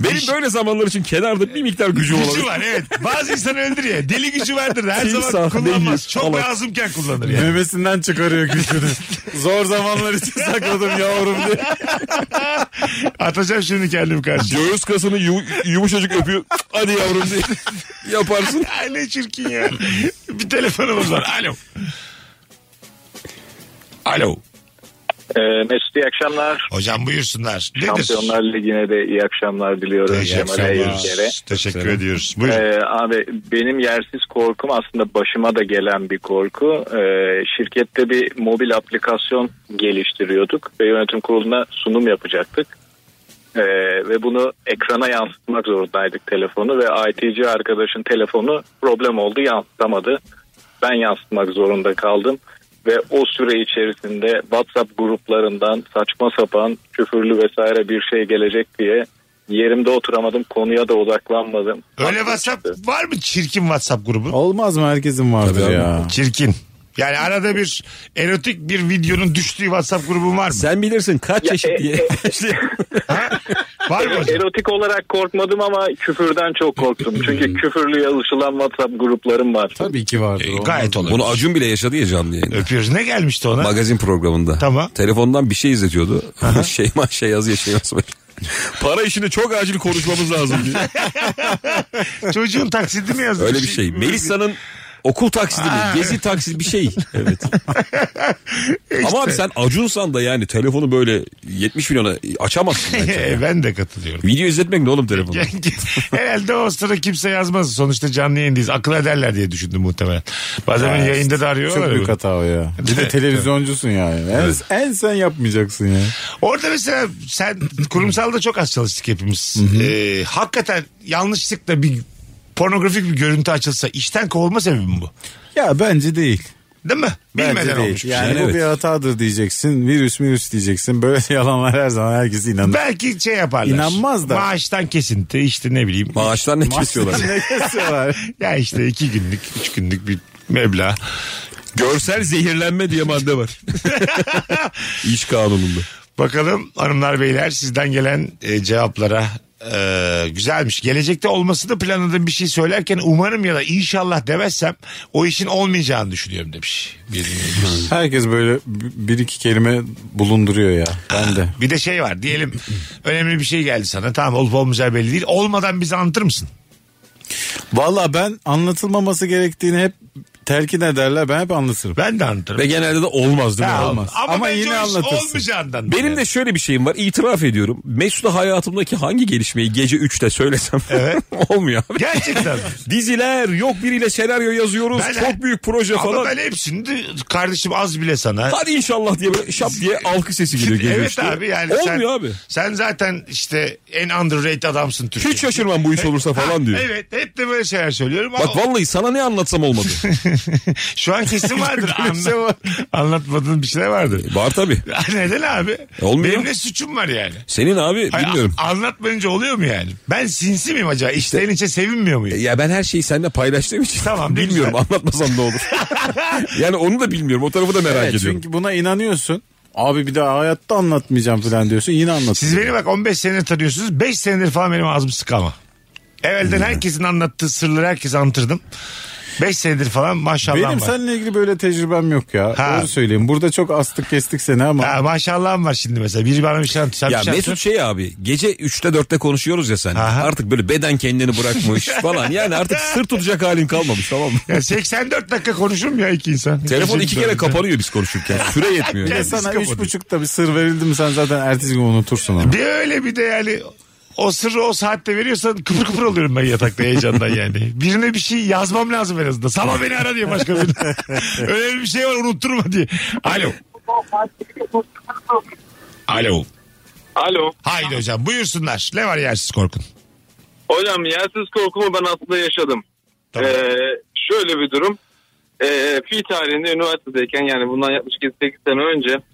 [SPEAKER 3] Benim böyle zamanlar için kenarda bir miktar gücüm
[SPEAKER 2] Gücü
[SPEAKER 3] olabilir.
[SPEAKER 2] var evet. Bazı insan öldür ya. Deli gücü vardır. Her zaman
[SPEAKER 3] Timsah,
[SPEAKER 2] kullanmaz.
[SPEAKER 3] beygir,
[SPEAKER 2] Çok
[SPEAKER 3] falan.
[SPEAKER 2] lazımken kullanır yani.
[SPEAKER 4] Memesinden çıkarıyor gücünü. Zor zamanlar için sakladım yavrum diye.
[SPEAKER 2] Atacağım şimdi kendimi karşıya.
[SPEAKER 3] Göğüs kasını yu- yumuşacık öpüyor. Hadi yavrum diye yaparsın.
[SPEAKER 2] Ay ne çirkin ya. Bir telefonumuz var. Alo. Alo.
[SPEAKER 5] E,
[SPEAKER 7] Ee, Mesut iyi akşamlar.
[SPEAKER 2] Hocam buyursunlar. Nedir?
[SPEAKER 7] Şampiyonlar Ligi'ne de iyi akşamlar diliyorum.
[SPEAKER 2] Teşekkür
[SPEAKER 7] Cemal'e
[SPEAKER 2] ederiz.
[SPEAKER 7] Yüzger'e.
[SPEAKER 2] Teşekkür ediyoruz. Buyurun.
[SPEAKER 7] Ee, abi benim yersiz korkum aslında başıma da gelen bir korku. Ee, şirkette bir mobil aplikasyon geliştiriyorduk ve yönetim kuruluna sunum yapacaktık. Ee, ve bunu ekrana yansıtmak zorundaydık telefonu ve ITC arkadaşın telefonu problem oldu yansıtamadı. Ben yansıtmak zorunda kaldım ve o süre içerisinde WhatsApp gruplarından saçma sapan küfürlü vesaire bir şey gelecek diye yerimde oturamadım konuya da odaklanmadım.
[SPEAKER 2] Öyle WhatsApp var mı çirkin WhatsApp grubu?
[SPEAKER 4] Olmaz mı herkesin vardır
[SPEAKER 3] Tabii abi.
[SPEAKER 4] ya.
[SPEAKER 2] Çirkin. Yani arada bir erotik bir videonun düştüğü WhatsApp grubu var mı?
[SPEAKER 3] Sen bilirsin kaç
[SPEAKER 7] Ya,
[SPEAKER 3] çeşit
[SPEAKER 7] e,
[SPEAKER 3] diye.
[SPEAKER 2] Var mı hocam?
[SPEAKER 7] Erotik olarak korkmadım ama küfürden çok korktum. Çünkü küfürlü yazışılan WhatsApp gruplarım var.
[SPEAKER 4] Tabii ki vardır.
[SPEAKER 2] E,
[SPEAKER 4] Olmaz.
[SPEAKER 2] Gayet olur.
[SPEAKER 3] Bunu Acun bile yaşadı ya canlı yayında.
[SPEAKER 2] Öpüyoruz. Ne gelmişti ona?
[SPEAKER 3] Magazin programında.
[SPEAKER 2] Tamam.
[SPEAKER 3] Telefondan bir şey izletiyordu. Şeyma şey yazıyor şey yazıyor. Para işini çok acil konuşmamız lazım diye.
[SPEAKER 2] Çocuğun taksidi mi yazmış?
[SPEAKER 3] Öyle bir şey. Melisa'nın okul taksidi mi? Gezi taksidi bir şey. Evet. Ama abi sen Acunsan da yani telefonu böyle 70 milyona açamazsın bence.
[SPEAKER 2] E, ben de katılıyorum.
[SPEAKER 3] Video izletmek ne oğlum telefonu?
[SPEAKER 2] Herhalde o sıra kimse yazmaz. Sonuçta canlı yayındayız. Akıl ederler diye düşündüm muhtemelen. Bazen beni yayında da arıyorlar.
[SPEAKER 4] Çok
[SPEAKER 2] ya.
[SPEAKER 4] büyük hata o ya. Bir de televizyoncusun yani. En, en sen yapmayacaksın ya.
[SPEAKER 2] Orada mesela sen kurumsalda çok az çalıştık hepimiz. Ee, hakikaten yanlışlıkla bir pornografik bir görüntü açılsa işten kovulma sebebi mi bu?
[SPEAKER 4] Ya bence değil.
[SPEAKER 2] Değil mi?
[SPEAKER 4] Bence
[SPEAKER 2] Bilmeden
[SPEAKER 4] değil.
[SPEAKER 2] olmuş. bir şey.
[SPEAKER 4] Yani
[SPEAKER 3] Yani
[SPEAKER 4] bu
[SPEAKER 3] evet.
[SPEAKER 4] bir hatadır diyeceksin. Virüs virüs diyeceksin. Böyle yalanlar her zaman herkes inanır.
[SPEAKER 2] Belki şey yaparlar.
[SPEAKER 4] İnanmaz da.
[SPEAKER 2] Maaştan kesinti işte ne bileyim.
[SPEAKER 3] Maaşlar ne kesiyorlar?
[SPEAKER 4] ne kesiyorlar?
[SPEAKER 2] ya işte iki günlük, üç günlük bir meblağ.
[SPEAKER 3] Görsel zehirlenme diye madde var. İş kanununda.
[SPEAKER 2] Bakalım hanımlar beyler sizden gelen e, cevaplara Ee, güzelmiş. Gelecekte olması da planladığım bir şey söylerken umarım ya da inşallah demezsem o işin olmayacağını düşünüyorum demiş. Bir dinleyicimiz.
[SPEAKER 4] Herkes böyle bir bir iki kelime bulunduruyor ya. Ben de.
[SPEAKER 2] Bir de şey var diyelim önemli bir şey geldi sana tamam olup olmayacağı belli değil. Olmadan bize anlatır mısın?
[SPEAKER 4] Valla ben anlatılmaması gerektiğini hep telkin ederler. Ben hep anlatırım.
[SPEAKER 2] Ben de anlatırım.
[SPEAKER 3] Ve genelde de olmaz değil mi?
[SPEAKER 2] Ha,
[SPEAKER 4] olmaz.
[SPEAKER 2] Ama,
[SPEAKER 4] Ama
[SPEAKER 2] bence
[SPEAKER 4] yine
[SPEAKER 2] o iş
[SPEAKER 4] anlatırsın.
[SPEAKER 2] Olmayacağından.
[SPEAKER 3] Benim de şöyle bir şeyim var itiraf ediyorum. Mesut'a hayatımdaki hangi gelişmeyi gece 3'te söylesem olmuyor abi.
[SPEAKER 2] Gerçekten.
[SPEAKER 3] Diziler yok biriyle senaryo yazıyoruz
[SPEAKER 2] Ben-
[SPEAKER 3] çok büyük proje
[SPEAKER 2] Ama
[SPEAKER 3] falan.
[SPEAKER 2] ben hepsini de kardeşim az bile sana.
[SPEAKER 3] Hadi inşallah diye böyle şap diye alkı sesi geliyor gece
[SPEAKER 2] evet
[SPEAKER 3] üçte.
[SPEAKER 2] abi yani sen,
[SPEAKER 3] Olmuyor abi.
[SPEAKER 2] sen zaten işte en underrated adamsın Türkiye'de.
[SPEAKER 3] Hiç şaşırmam bu iş olursa falan diyor.
[SPEAKER 2] Evet hep de böyle şeyler söylüyorum ama
[SPEAKER 3] Bak vallahi sana ne anlatsam olmadı.
[SPEAKER 2] şu an kesin vardır. Anla, anlatmadığın bir şeyler vardır.
[SPEAKER 3] Var tabii.
[SPEAKER 2] Neden abi?
[SPEAKER 3] Olmuyor.
[SPEAKER 2] Benim ne suçum var yani?
[SPEAKER 3] Senin abi
[SPEAKER 2] Hayır,
[SPEAKER 3] bilmiyorum.
[SPEAKER 2] a- anlatmayınca oluyor mu yani? Ben sinsi miyim acaba? İşten içe sevinmiyor muyum?
[SPEAKER 3] Ya ben her şeyi seninle paylaştığım için
[SPEAKER 2] Tamam, ne
[SPEAKER 3] bilmiyorum
[SPEAKER 2] güzel.
[SPEAKER 3] anlatmasam ne olur. yani onu da bilmiyorum o tarafı da merak
[SPEAKER 4] Evet,
[SPEAKER 3] ediyorum.
[SPEAKER 4] çünkü buna inanıyorsun. Abi bir daha hayatta anlatmayacağım falan diyorsun. Yine anlatıyorsun.
[SPEAKER 2] Siz beni bak 15 senedir tanıyorsunuz. 5 senedir falan benim ağzım sıkama.
[SPEAKER 3] Hmm.
[SPEAKER 2] Evvelden herkesin anlattığı sırları herkese anlatırdım. 5 senedir falan maşallah
[SPEAKER 4] Benim
[SPEAKER 2] var.
[SPEAKER 4] seninle ilgili böyle tecrübem yok ya.
[SPEAKER 2] Ha.
[SPEAKER 4] Doğru söyleyeyim. Burada çok astık kestik seni ama.
[SPEAKER 2] Ha, maşallahım var şimdi mesela. Biri bana bir şey anlatıyor. sen
[SPEAKER 3] Ya
[SPEAKER 2] bir şey
[SPEAKER 3] Mesut şey abi gece 3'te 4'te konuşuyoruz ya sen.
[SPEAKER 2] Aha.
[SPEAKER 3] Artık böyle beden kendini bırakmış falan. Yani artık sır tutacak halin kalmamış tamam mı?
[SPEAKER 2] Ya 84 dakika konuşurum ya iki insan.
[SPEAKER 3] Telefon
[SPEAKER 2] Gece
[SPEAKER 3] iki kere
[SPEAKER 2] dördünde.
[SPEAKER 3] kapanıyor biz konuşurken. Süre yetmiyor.
[SPEAKER 4] Ya
[SPEAKER 3] yani.
[SPEAKER 2] Kendisi
[SPEAKER 4] sana
[SPEAKER 2] kapadı.
[SPEAKER 4] üç buçukta bir sır verildi mi sen zaten ertesi gün unutursun onu.
[SPEAKER 2] Bir öyle bir de yani o sırrı o saatte veriyorsan kıpır kıpır oluyorum ben yatakta heyecandan yani. Birine bir şey yazmam lazım en azından. Sabah beni ara diye başka bir. Önemli bir şey var unutturma diye. Alo. Alo.
[SPEAKER 7] Alo.
[SPEAKER 2] Haydi hocam buyursunlar. Ne var yersiz korkun?
[SPEAKER 7] Hocam yersiz korkumu ben aslında yaşadım.
[SPEAKER 2] Tamam.
[SPEAKER 7] Ee, şöyle bir durum. Ee, fi tarihinde üniversitedeyken yani bundan yaklaşık 8 sene önce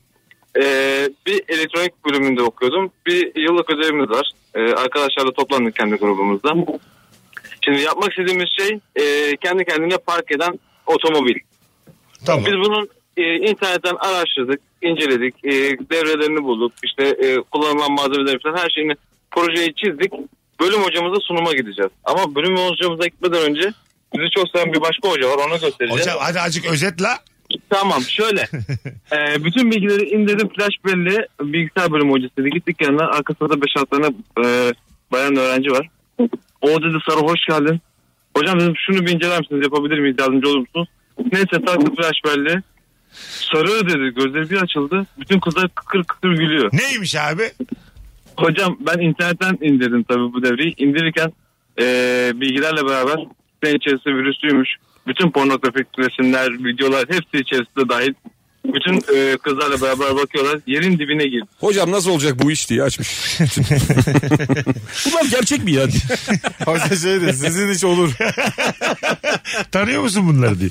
[SPEAKER 7] ee, bir elektronik bölümünde okuyordum. Bir yıllık ödevimiz var. Ee, arkadaşlarla toplandık kendi grubumuzda. Şimdi yapmak istediğimiz şey ee, kendi kendine park eden otomobil.
[SPEAKER 2] tamam.
[SPEAKER 7] Biz bunun e, internetten araştırdık, inceledik, e, devrelerini bulduk. İşte e, kullanılan malzemeleri falan her şeyini projeyi çizdik. Bölüm hocamıza sunuma gideceğiz. Ama bölüm hocamıza gitmeden önce bizi çok seven bir başka hoca var ona göstereceğiz.
[SPEAKER 2] Hocam hadi azıcık özetle.
[SPEAKER 7] Tamam şöyle. Ee, bütün bilgileri indirdim flash belli. Bilgisayar bölümü hocası dedi. Gittik yanına. Arkasında da 5-6 tane e, bayan öğrenci var. O dedi Sarı hoş geldin. Hocam dedim şunu bir inceler misiniz? Yapabilir miyiz? Yardımcı olur musunuz? Neyse taktı flash belli. Sarı dedi. Gözleri bir açıldı. Bütün kızlar kıkır kıkır gülüyor.
[SPEAKER 2] Neymiş abi?
[SPEAKER 7] Hocam ben internetten indirdim tabii bu devreyi. İndirirken e, bilgilerle beraber sitenin içerisinde virüslüymüş. Bütün pornografik resimler, videolar hepsi içerisinde dahil. Bütün e, kızlarla beraber bakıyorlar. Yerin dibine girdi.
[SPEAKER 3] Hocam nasıl olacak bu iş diye açmış. Bunlar gerçek mi ya?
[SPEAKER 4] Hoca şey dedi sizin iş olur.
[SPEAKER 2] Tanıyor musun bunları diye.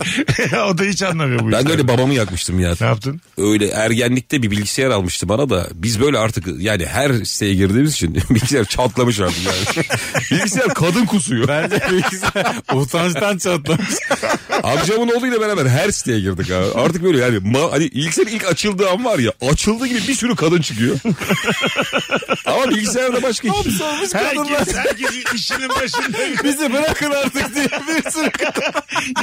[SPEAKER 2] o da hiç anlamıyor bu
[SPEAKER 3] Ben
[SPEAKER 2] işleri.
[SPEAKER 3] de öyle babamı yakmıştım ya.
[SPEAKER 2] Ne yaptın?
[SPEAKER 3] Öyle ergenlikte bir bilgisayar almıştı bana da biz böyle artık yani her siteye girdiğimiz için bilgisayar çatlamış artık yani. bilgisayar kadın kusuyor.
[SPEAKER 4] Bence bilgisayar utançtan çatlamış.
[SPEAKER 3] Amcamın oğluyla beraber her siteye girdik abi. Artık böyle yani ma- hani bilgisayar ilk açıldığı an var ya açıldığı gibi bir sürü kadın çıkıyor. Ama bilgisayarda başka şey. hiç.
[SPEAKER 2] Herkes, herkes işinin başında.
[SPEAKER 4] Bizi bırakın artık diye bir sürü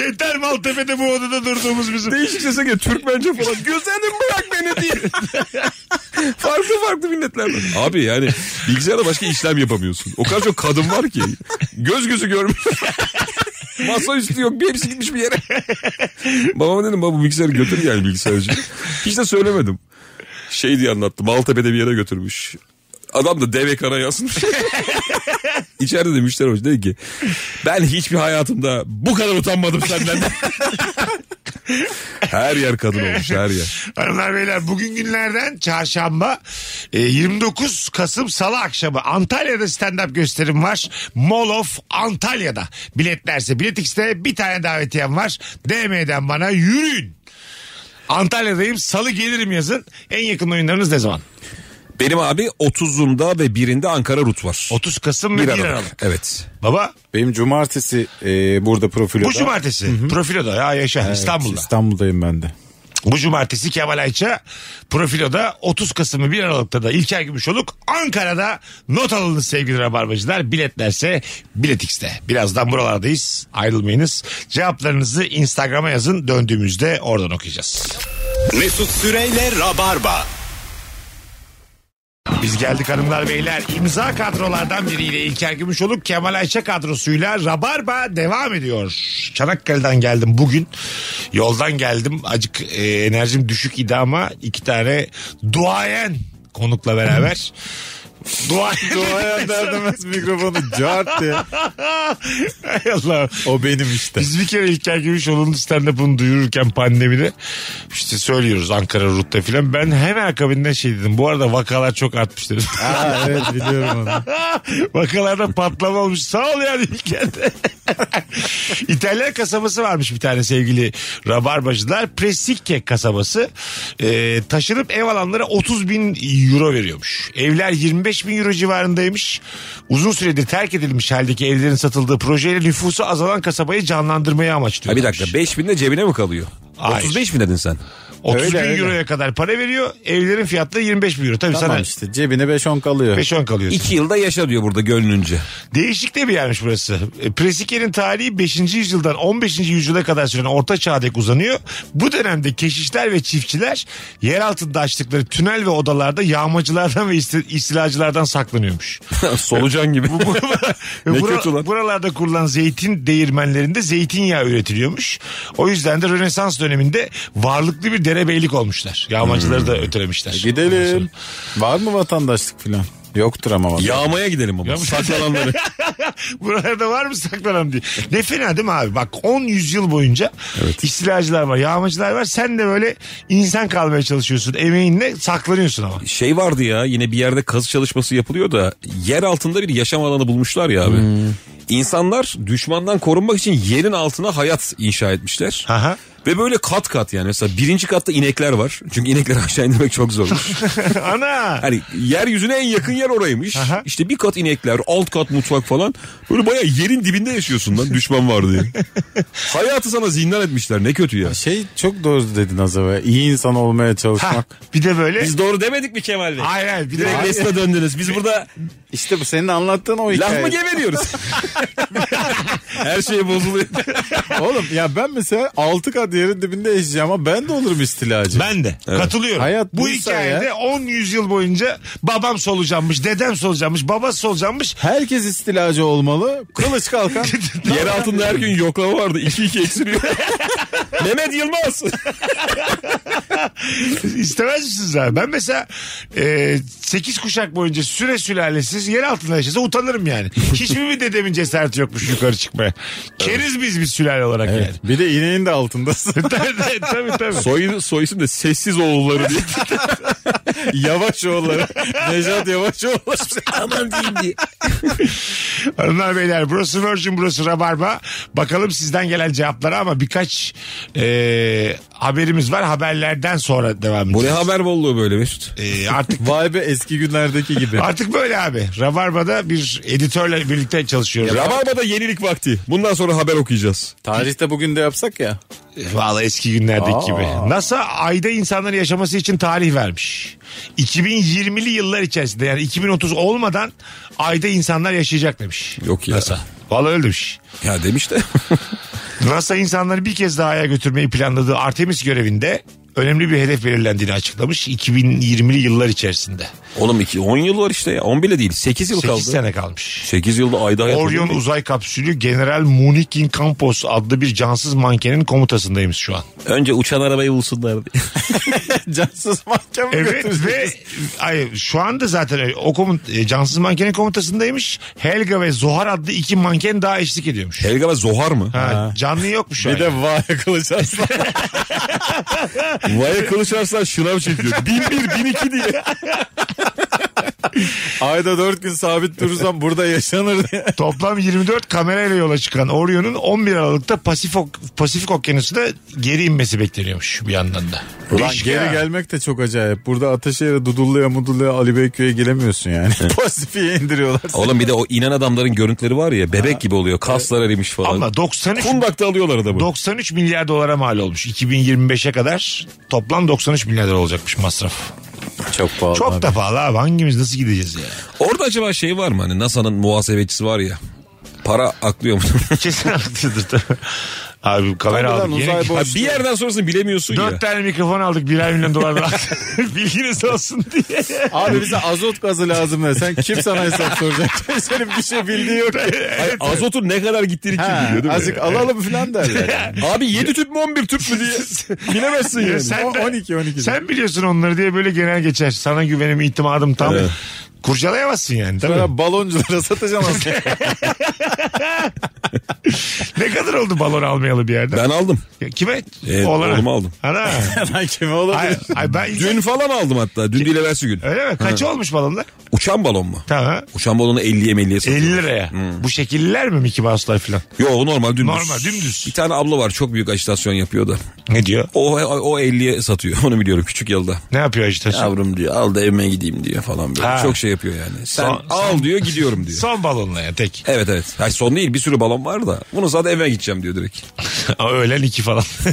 [SPEAKER 2] Yeter Maltepe'de bu odada durduğumuz bizim.
[SPEAKER 3] Değişik sese geliyor. Türkmence falan. Güzelim bırak beni diye. farklı farklı milletlerden. Abi yani bilgisayarda başka işlem yapamıyorsun. O kadar çok kadın var ki. Göz gözü görmüyor. Masa üstü yok. Bir hepsi gitmiş bir yere. Babama dedim baba bu bilgisayarı götür yani bilgisayarcı. Hiç de söylemedim. Şey diye anlattı. Maltepe'de bir yere götürmüş. Adam da dev ekrana yazmış. İçeride de müşteri hoş dedi ki ben hiçbir hayatımda bu kadar utanmadım senden. her yer kadın olmuş her yer.
[SPEAKER 2] Hanımlar beyler bugün günlerden çarşamba e, 29 Kasım Salı akşamı Antalya'da stand-up gösterim var. Mall of Antalya'da. Biletlerse Bilet X'te bir tane davetiyem var. DM'den bana yürüyün. Antalya'dayım salı gelirim yazın. En yakın oyunlarınız ne zaman?
[SPEAKER 3] Benim abi 30'unda ve 1'inde Ankara Rut var.
[SPEAKER 2] 30 Kasım ve 1
[SPEAKER 3] Bir
[SPEAKER 2] Aralık.
[SPEAKER 3] Aralık. Evet.
[SPEAKER 2] Baba
[SPEAKER 4] Benim cumartesi e, burada profiloda.
[SPEAKER 2] bu cumartesi Profilo'da ya yaşa
[SPEAKER 4] Evet,
[SPEAKER 2] İstanbul'da.
[SPEAKER 4] İstanbul'dayım ben de.
[SPEAKER 2] Bu cumartesi Kemal Ayça Profilo'da 30 Kasım'ı 1 Aralık'ta da İlker Gümüşoluk Ankara'da not alınız sevgili Rabarbacılar. Biletlerse biletikste. Birazdan buralardayız ayrılmayınız. Cevaplarınızı Instagram'a yazın döndüğümüzde oradan okuyacağız.
[SPEAKER 1] Mesut Süreyle Rabarba.
[SPEAKER 2] Biz geldik hanımlar beyler. İmza kadrolardan biriyle İlker Gümüşoluk, Kemal Ayça kadrosuyla Rabarba devam ediyor. Çanakkale'den geldim bugün. Yoldan geldim. Acık e, enerjim düşük idi ama iki tane duayen konukla beraber. duayen.
[SPEAKER 4] Doğaya derdemez mikrofonu cart diye.
[SPEAKER 2] Hay Allah'ım.
[SPEAKER 4] O benim işte.
[SPEAKER 2] Biz bir kere İlker Gümüşoğlu'nun stand-up'ını duyururken pandemide işte söylüyoruz Ankara Rut'ta filan. Ben hemen akabinde şey dedim. Bu arada vakalar çok artmış dedim.
[SPEAKER 4] Ha, evet biliyorum onu.
[SPEAKER 2] Vakalarda patlama olmuş. Sağ ol yani İlker'de. İtalyan kasabası varmış bir tane sevgili rabarbacılar. Presikke kasabası. Ee, taşınıp ev alanlara 30 bin euro veriyormuş. Evler 25 bin euro civarındaymış. Uzun süredir terk edilmiş haldeki evlerin satıldığı projeyle nüfusu azalan kasabayı canlandırmayı
[SPEAKER 3] Ha
[SPEAKER 2] amaçlıyor.
[SPEAKER 3] bir dakika 5000 de cebine mi kalıyor?
[SPEAKER 2] Hayır.
[SPEAKER 3] 35 mi dedin sen?
[SPEAKER 2] 30
[SPEAKER 4] Öyle,
[SPEAKER 2] bin
[SPEAKER 4] öyle.
[SPEAKER 2] euroya kadar para veriyor. Evlerin fiyatları 25 bin euro. Tabii
[SPEAKER 4] Tamam
[SPEAKER 2] sana
[SPEAKER 4] işte cebine 5-10 kalıyor.
[SPEAKER 2] 5-10 kalıyor.
[SPEAKER 3] 2 yılda yaşa diyor burada gönlünce.
[SPEAKER 2] Değişik de bir yermiş burası. E, Presike'nin tarihi 5. yüzyıldan 15. yüzyıla kadar süren orta çağa dek uzanıyor. Bu dönemde keşişler ve çiftçiler yer altında açtıkları tünel ve odalarda yağmacılardan ve isti- istilacılardan saklanıyormuş.
[SPEAKER 3] Solucan gibi.
[SPEAKER 2] Ve
[SPEAKER 3] Ne kötü lan.
[SPEAKER 2] Buralarda kurulan zeytin değirmenlerinde zeytinyağı üretiliyormuş. O yüzden de Rönesans döneminde varlıklı bir derebeylik olmuşlar. Yağmacıları
[SPEAKER 3] Hmm.
[SPEAKER 2] da ötelemişler.
[SPEAKER 3] E,
[SPEAKER 4] Gidelim. Var mı vatandaşlık filan? Yoktur ama vatandaşlık.
[SPEAKER 3] Yağmaya gidelim ama.
[SPEAKER 4] şey-
[SPEAKER 3] Saklalanları.
[SPEAKER 2] Buralarda var mı saklanan diye. Ne fena değil mi abi? Bak 10 yüzyıl boyunca istilacılar var, yağmacılar var. Sen de böyle insan kalmaya çalışıyorsun. Emeğinle saklanıyorsun ama.
[SPEAKER 3] şey vardı ya yine bir yerde kazı çalışması yapılıyor da yer altında bir yaşam alanı bulmuşlar ya abi. İnsanlar düşmandan korunmak için yerin altına hayat inşa etmişler.
[SPEAKER 2] Aha.
[SPEAKER 3] Ve böyle kat kat yani mesela birinci katta inekler var. Çünkü inekleri aşağı indirmek çok zormuş.
[SPEAKER 2] Ana.
[SPEAKER 3] Hani yeryüzüne en yakın yer oraymış.
[SPEAKER 2] Aha.
[SPEAKER 3] İşte bir kat inekler, alt kat mutfak falan. Böyle bayağı yerin dibinde yaşıyorsun lan düşman var diye. Hayatı sana zindan etmişler ne kötü ya.
[SPEAKER 4] Şey çok doğru dedin az evvel. İyi insan olmaya
[SPEAKER 2] Ha,
[SPEAKER 4] çalışmak.
[SPEAKER 2] bir de böyle.
[SPEAKER 3] Biz doğru demedik mi Kemal Bey?
[SPEAKER 2] Hayır hayır bir de
[SPEAKER 3] Direkt Mesut'a döndünüz. Biz burada
[SPEAKER 4] İşte bu senin anlattığın o hikaye.
[SPEAKER 3] laf mı geveliyoruz? Her şey bozuluyor.
[SPEAKER 4] Oğlum ya ben mesela 6 kat yerin dibinde yaşayacağım ama ben de olurum istilacı.
[SPEAKER 2] Ben de katılıyorum.
[SPEAKER 4] Hayat
[SPEAKER 2] bu
[SPEAKER 4] buysa
[SPEAKER 2] hikayede
[SPEAKER 4] ya.
[SPEAKER 2] 10 yüzyıl boyunca babam solucanmış, dedem solucanmış, babası solucanmış.
[SPEAKER 4] Herkes istilacı olmalı. Kılıç kalkan.
[SPEAKER 3] Yer altında her gün yoklama vardı. 2-2 eksiliyor. Mehmet Yılmaz.
[SPEAKER 2] İstemez misiniz abi? Ben mesela 8 kuşak boyunca süre sülalesiz yer altında yaşasa utanırım yani. Hiçbir mi dedemin cesareti yokmuş yukarı çıkmaya? Keriz biz biz sülale olarak yani.
[SPEAKER 4] Bir de ineğin de altındasın.
[SPEAKER 2] tabii tabii. tabii.
[SPEAKER 3] Soy, soy isim de sessiz oğulları diye.
[SPEAKER 4] yavaş oğulları. Nejat yavaş oğulları.
[SPEAKER 3] Aman diyeyim diye.
[SPEAKER 2] Hanımlar beyler burası Virgin burası Rabarba. Bakalım sizden gelen cevaplara ama birkaç e, haberimiz var. Haberlerden sonra devam
[SPEAKER 3] Bu ne
[SPEAKER 2] edeceğiz.
[SPEAKER 3] haber bolluğu böyle Mesut?
[SPEAKER 2] E, artık
[SPEAKER 4] Vay be eski günlerdeki gibi.
[SPEAKER 2] Artık böyle abi. Rabarba'da bir editörle birlikte çalışıyoruz.
[SPEAKER 3] Rabarba'da yenilik vakti. Bundan sonra haber okuyacağız.
[SPEAKER 4] Tarihte bugün de yapsak ya.
[SPEAKER 2] Valla eski günlerdeki
[SPEAKER 4] Aa.
[SPEAKER 2] gibi. NASA ayda insanların yaşaması için tarih vermiş. 2020'li yıllar içerisinde yani 2030 olmadan ayda insanlar yaşayacak demiş.
[SPEAKER 3] Yok ya.
[SPEAKER 2] NASA. Valla öyle demiş.
[SPEAKER 3] Ya demiş de.
[SPEAKER 2] NASA insanları bir kez daha aya götürmeyi planladığı Artemis görevinde önemli bir hedef belirlendiğini açıklamış 2020'li yıllar içerisinde.
[SPEAKER 3] Oğlum iki- 10 yıl var işte ya. 10 bile değil. 8 yıl
[SPEAKER 2] 8
[SPEAKER 3] kaldı.
[SPEAKER 2] sene kalmış.
[SPEAKER 3] 8 yılda ayda hayat
[SPEAKER 2] Orion
[SPEAKER 3] olur mu?
[SPEAKER 2] uzay kapsülü General Munikin Campos adlı bir cansız mankenin komutasındayız şu an.
[SPEAKER 3] Önce uçan arabayı bulsunlar.
[SPEAKER 4] Cansız mahkeme
[SPEAKER 2] Evet ve ay, şu anda zaten o komut, e, cansız mankenin komutasındaymış. Helga ve Zohar adlı iki manken daha eşlik ediyormuş.
[SPEAKER 3] Helga ve Zohar mı?
[SPEAKER 2] Ha, Canlı yokmuş şu an.
[SPEAKER 4] Bir de vay kılıç aslan.
[SPEAKER 3] Vaya Kılıç Arslan şınav çekiyor. 1001, 1002 diye.
[SPEAKER 4] Ayda dört gün sabit durursam burada yaşanır diye.
[SPEAKER 2] Toplam 24 kamerayla yola çıkan Orion'un 11 Aralık'ta Pasifik, Pasifik Okyanusu'na geri inmesi bekleniyormuş bir yandan da.
[SPEAKER 4] Ulan
[SPEAKER 2] Değişik
[SPEAKER 4] geri
[SPEAKER 2] ha.
[SPEAKER 4] gelmek de çok acayip. Burada Ataşehir'e Dudullu'ya Mudullu'ya Ali Beyköy'e gelemiyorsun yani. Pasifik'e indiriyorlar. seni.
[SPEAKER 3] Oğlum bir de o inen adamların görüntüleri var ya. Bebek gibi oluyor. Kaslar erimiş falan.
[SPEAKER 2] Ama 93,
[SPEAKER 3] Kundak'ta alıyorlar adamı.
[SPEAKER 2] 93 milyar dolara mal olmuş. 2025'e kadar toplam 93 milyar dolar olacakmış masraf.
[SPEAKER 4] Çok pahalı.
[SPEAKER 2] Çok da pahalı abi hangimiz nasıl gideceğiz ya?
[SPEAKER 3] Orada acaba şey var mı? Hani NASA'nın muhasebecisi var ya. Para aklıyor mu?
[SPEAKER 2] Kesin haklıydır tabii. Abi kamera
[SPEAKER 4] Harbiden
[SPEAKER 2] aldık.
[SPEAKER 4] uzay
[SPEAKER 2] Yine-
[SPEAKER 4] boy-
[SPEAKER 3] Ha, bir yerden sonrasını bilemiyorsun ya.
[SPEAKER 2] Dört tane mikrofon aldık birer milyon dolardan. Bilginiz olsun diye.
[SPEAKER 4] Abi bize azot gazı lazım desen kim sana hesap soracak? Senin bir şey bildiğin yok.
[SPEAKER 3] Hayır, azotun ne kadar gittiğini kim
[SPEAKER 4] Ha,
[SPEAKER 3] biliyor değil mi?
[SPEAKER 4] azıcık alalım filan derler.
[SPEAKER 3] Abi 7 tüp mü 11 tüp mü diye. Bilemezsin
[SPEAKER 2] Ya
[SPEAKER 3] yani.
[SPEAKER 2] sen de-
[SPEAKER 4] 12 12.
[SPEAKER 2] Sen biliyorsun onları diye böyle genel geçer. Sana güvenim itimadım tam.
[SPEAKER 3] Evet.
[SPEAKER 2] Kurcalayamazsın yani değil mi?
[SPEAKER 4] Sonra balonculara satacağım aslında.
[SPEAKER 2] Ne kadar oldu balon almayalı bir yerden?
[SPEAKER 3] Ben aldım.
[SPEAKER 2] Ya Kime?
[SPEAKER 3] Evet,
[SPEAKER 2] Oğlana.
[SPEAKER 3] oğlumu aldım.
[SPEAKER 2] Ana.
[SPEAKER 4] Lan kimi olabilir?
[SPEAKER 2] ay, ay ben
[SPEAKER 3] Dün falan aldım hatta. Dün değil evvelsi gün.
[SPEAKER 2] Öyle mi? Kaç olmuş balonlar?
[SPEAKER 3] Uçan balon mu?
[SPEAKER 2] Tamam.
[SPEAKER 3] Uçan balonu 50'ye 50'ye
[SPEAKER 2] 50
[SPEAKER 3] satıyorlar.
[SPEAKER 2] liraya. Bu şekiller mi Mickey Mouse'lar falan?
[SPEAKER 3] Yo o normal dümdüz.
[SPEAKER 2] Normal, dümdüz.
[SPEAKER 3] Bir tane abla var çok büyük ajitasyon yapıyor da.
[SPEAKER 2] Ne diyor?
[SPEAKER 3] O, o 50'ye satıyor onu biliyorum küçük yılda.
[SPEAKER 2] Ne yapıyor ajitasyon?
[SPEAKER 3] Yavrum diyor al da evime gideyim diyor falan böyle.
[SPEAKER 2] Ha.
[SPEAKER 3] Çok şey yapıyor yani. Sen
[SPEAKER 2] Son-
[SPEAKER 3] al diyor gidiyorum diyor.
[SPEAKER 2] Son balonla ya tek.
[SPEAKER 3] Evet evet. Hayır, son değil bir sürü balon var da. Bunu zaten evime gideceğim diyor direkt.
[SPEAKER 2] Ama öğlen iki falan.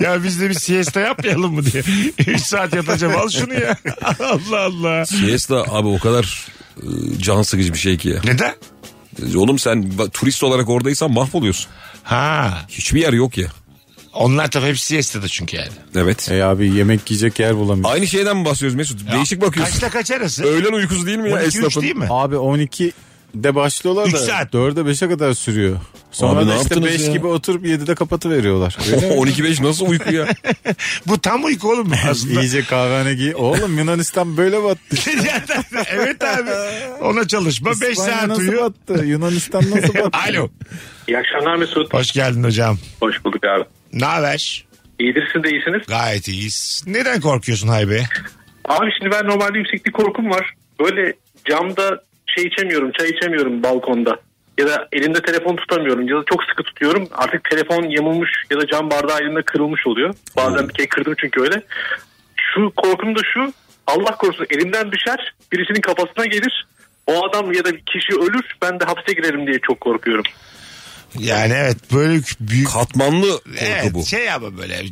[SPEAKER 2] ya biz de bir siesta yapmayalım mı diye. Üç saat yatacağım al şunu ya. Allah Allah.
[SPEAKER 3] Siesta abi o kadar e, can sıkıcı bir şey ki ya.
[SPEAKER 2] Neden?
[SPEAKER 3] Oğlum sen ba- turist olarak oradaysan mahvoluyorsun.
[SPEAKER 2] Ha.
[SPEAKER 3] Hiçbir yer yok ya.
[SPEAKER 2] Onlar tabii hep siestada çünkü yani.
[SPEAKER 3] Evet.
[SPEAKER 4] E abi yemek yiyecek yer bulamıyor.
[SPEAKER 3] Aynı şeyden mi bahsediyoruz Mesut? Değişik bakıyorsun.
[SPEAKER 2] Kaçta kaç arası?
[SPEAKER 3] Öğlen uykusu değil mi ya
[SPEAKER 2] 12 3
[SPEAKER 3] esnafın?
[SPEAKER 2] değil mi?
[SPEAKER 4] Abi 12 de başlıyorlar
[SPEAKER 2] Üç
[SPEAKER 4] da
[SPEAKER 2] saat.
[SPEAKER 4] 4'e 5'e kadar sürüyor. Sonra
[SPEAKER 3] Abi ne
[SPEAKER 4] da işte
[SPEAKER 3] yaptınız
[SPEAKER 4] 5
[SPEAKER 3] ya?
[SPEAKER 4] gibi oturup 7'de kapatı veriyorlar.
[SPEAKER 3] Oh, 12-5 nasıl uyku ya?
[SPEAKER 2] Bu tam uyku oğlum aslında.
[SPEAKER 4] İyice kahvehane giy. Oğlum Yunanistan böyle battı.
[SPEAKER 2] evet abi. Ona çalışma 5
[SPEAKER 4] İspanya
[SPEAKER 2] saat
[SPEAKER 4] nasıl
[SPEAKER 2] uyu.
[SPEAKER 4] battı? Yunanistan nasıl battı?
[SPEAKER 2] Alo.
[SPEAKER 7] İyi akşamlar Mesut.
[SPEAKER 2] Hoş geldin hocam.
[SPEAKER 7] Hoş bulduk abi.
[SPEAKER 2] Ne haber?
[SPEAKER 7] İyidir siz de iyisiniz.
[SPEAKER 2] Gayet iyiyiz. Neden korkuyorsun Haybe?
[SPEAKER 7] Abi şimdi ben normalde yükseklik korkum var. Böyle camda şey içemiyorum, çay içemiyorum balkonda.
[SPEAKER 8] ya da elimde telefon tutamıyorum ya da çok sıkı tutuyorum. Artık telefon yamulmuş ya da cam bardağı elimde kırılmış oluyor. Bazen bir kere kırdım çünkü öyle. Şu korkum da şu Allah korusun elimden düşer birisinin kafasına gelir. O adam ya da bir kişi ölür ben de hapse girerim diye çok korkuyorum.
[SPEAKER 2] Yani evet böyle büyük
[SPEAKER 3] Katmanlı korku
[SPEAKER 2] evet,
[SPEAKER 3] bu.
[SPEAKER 2] şey ama böyle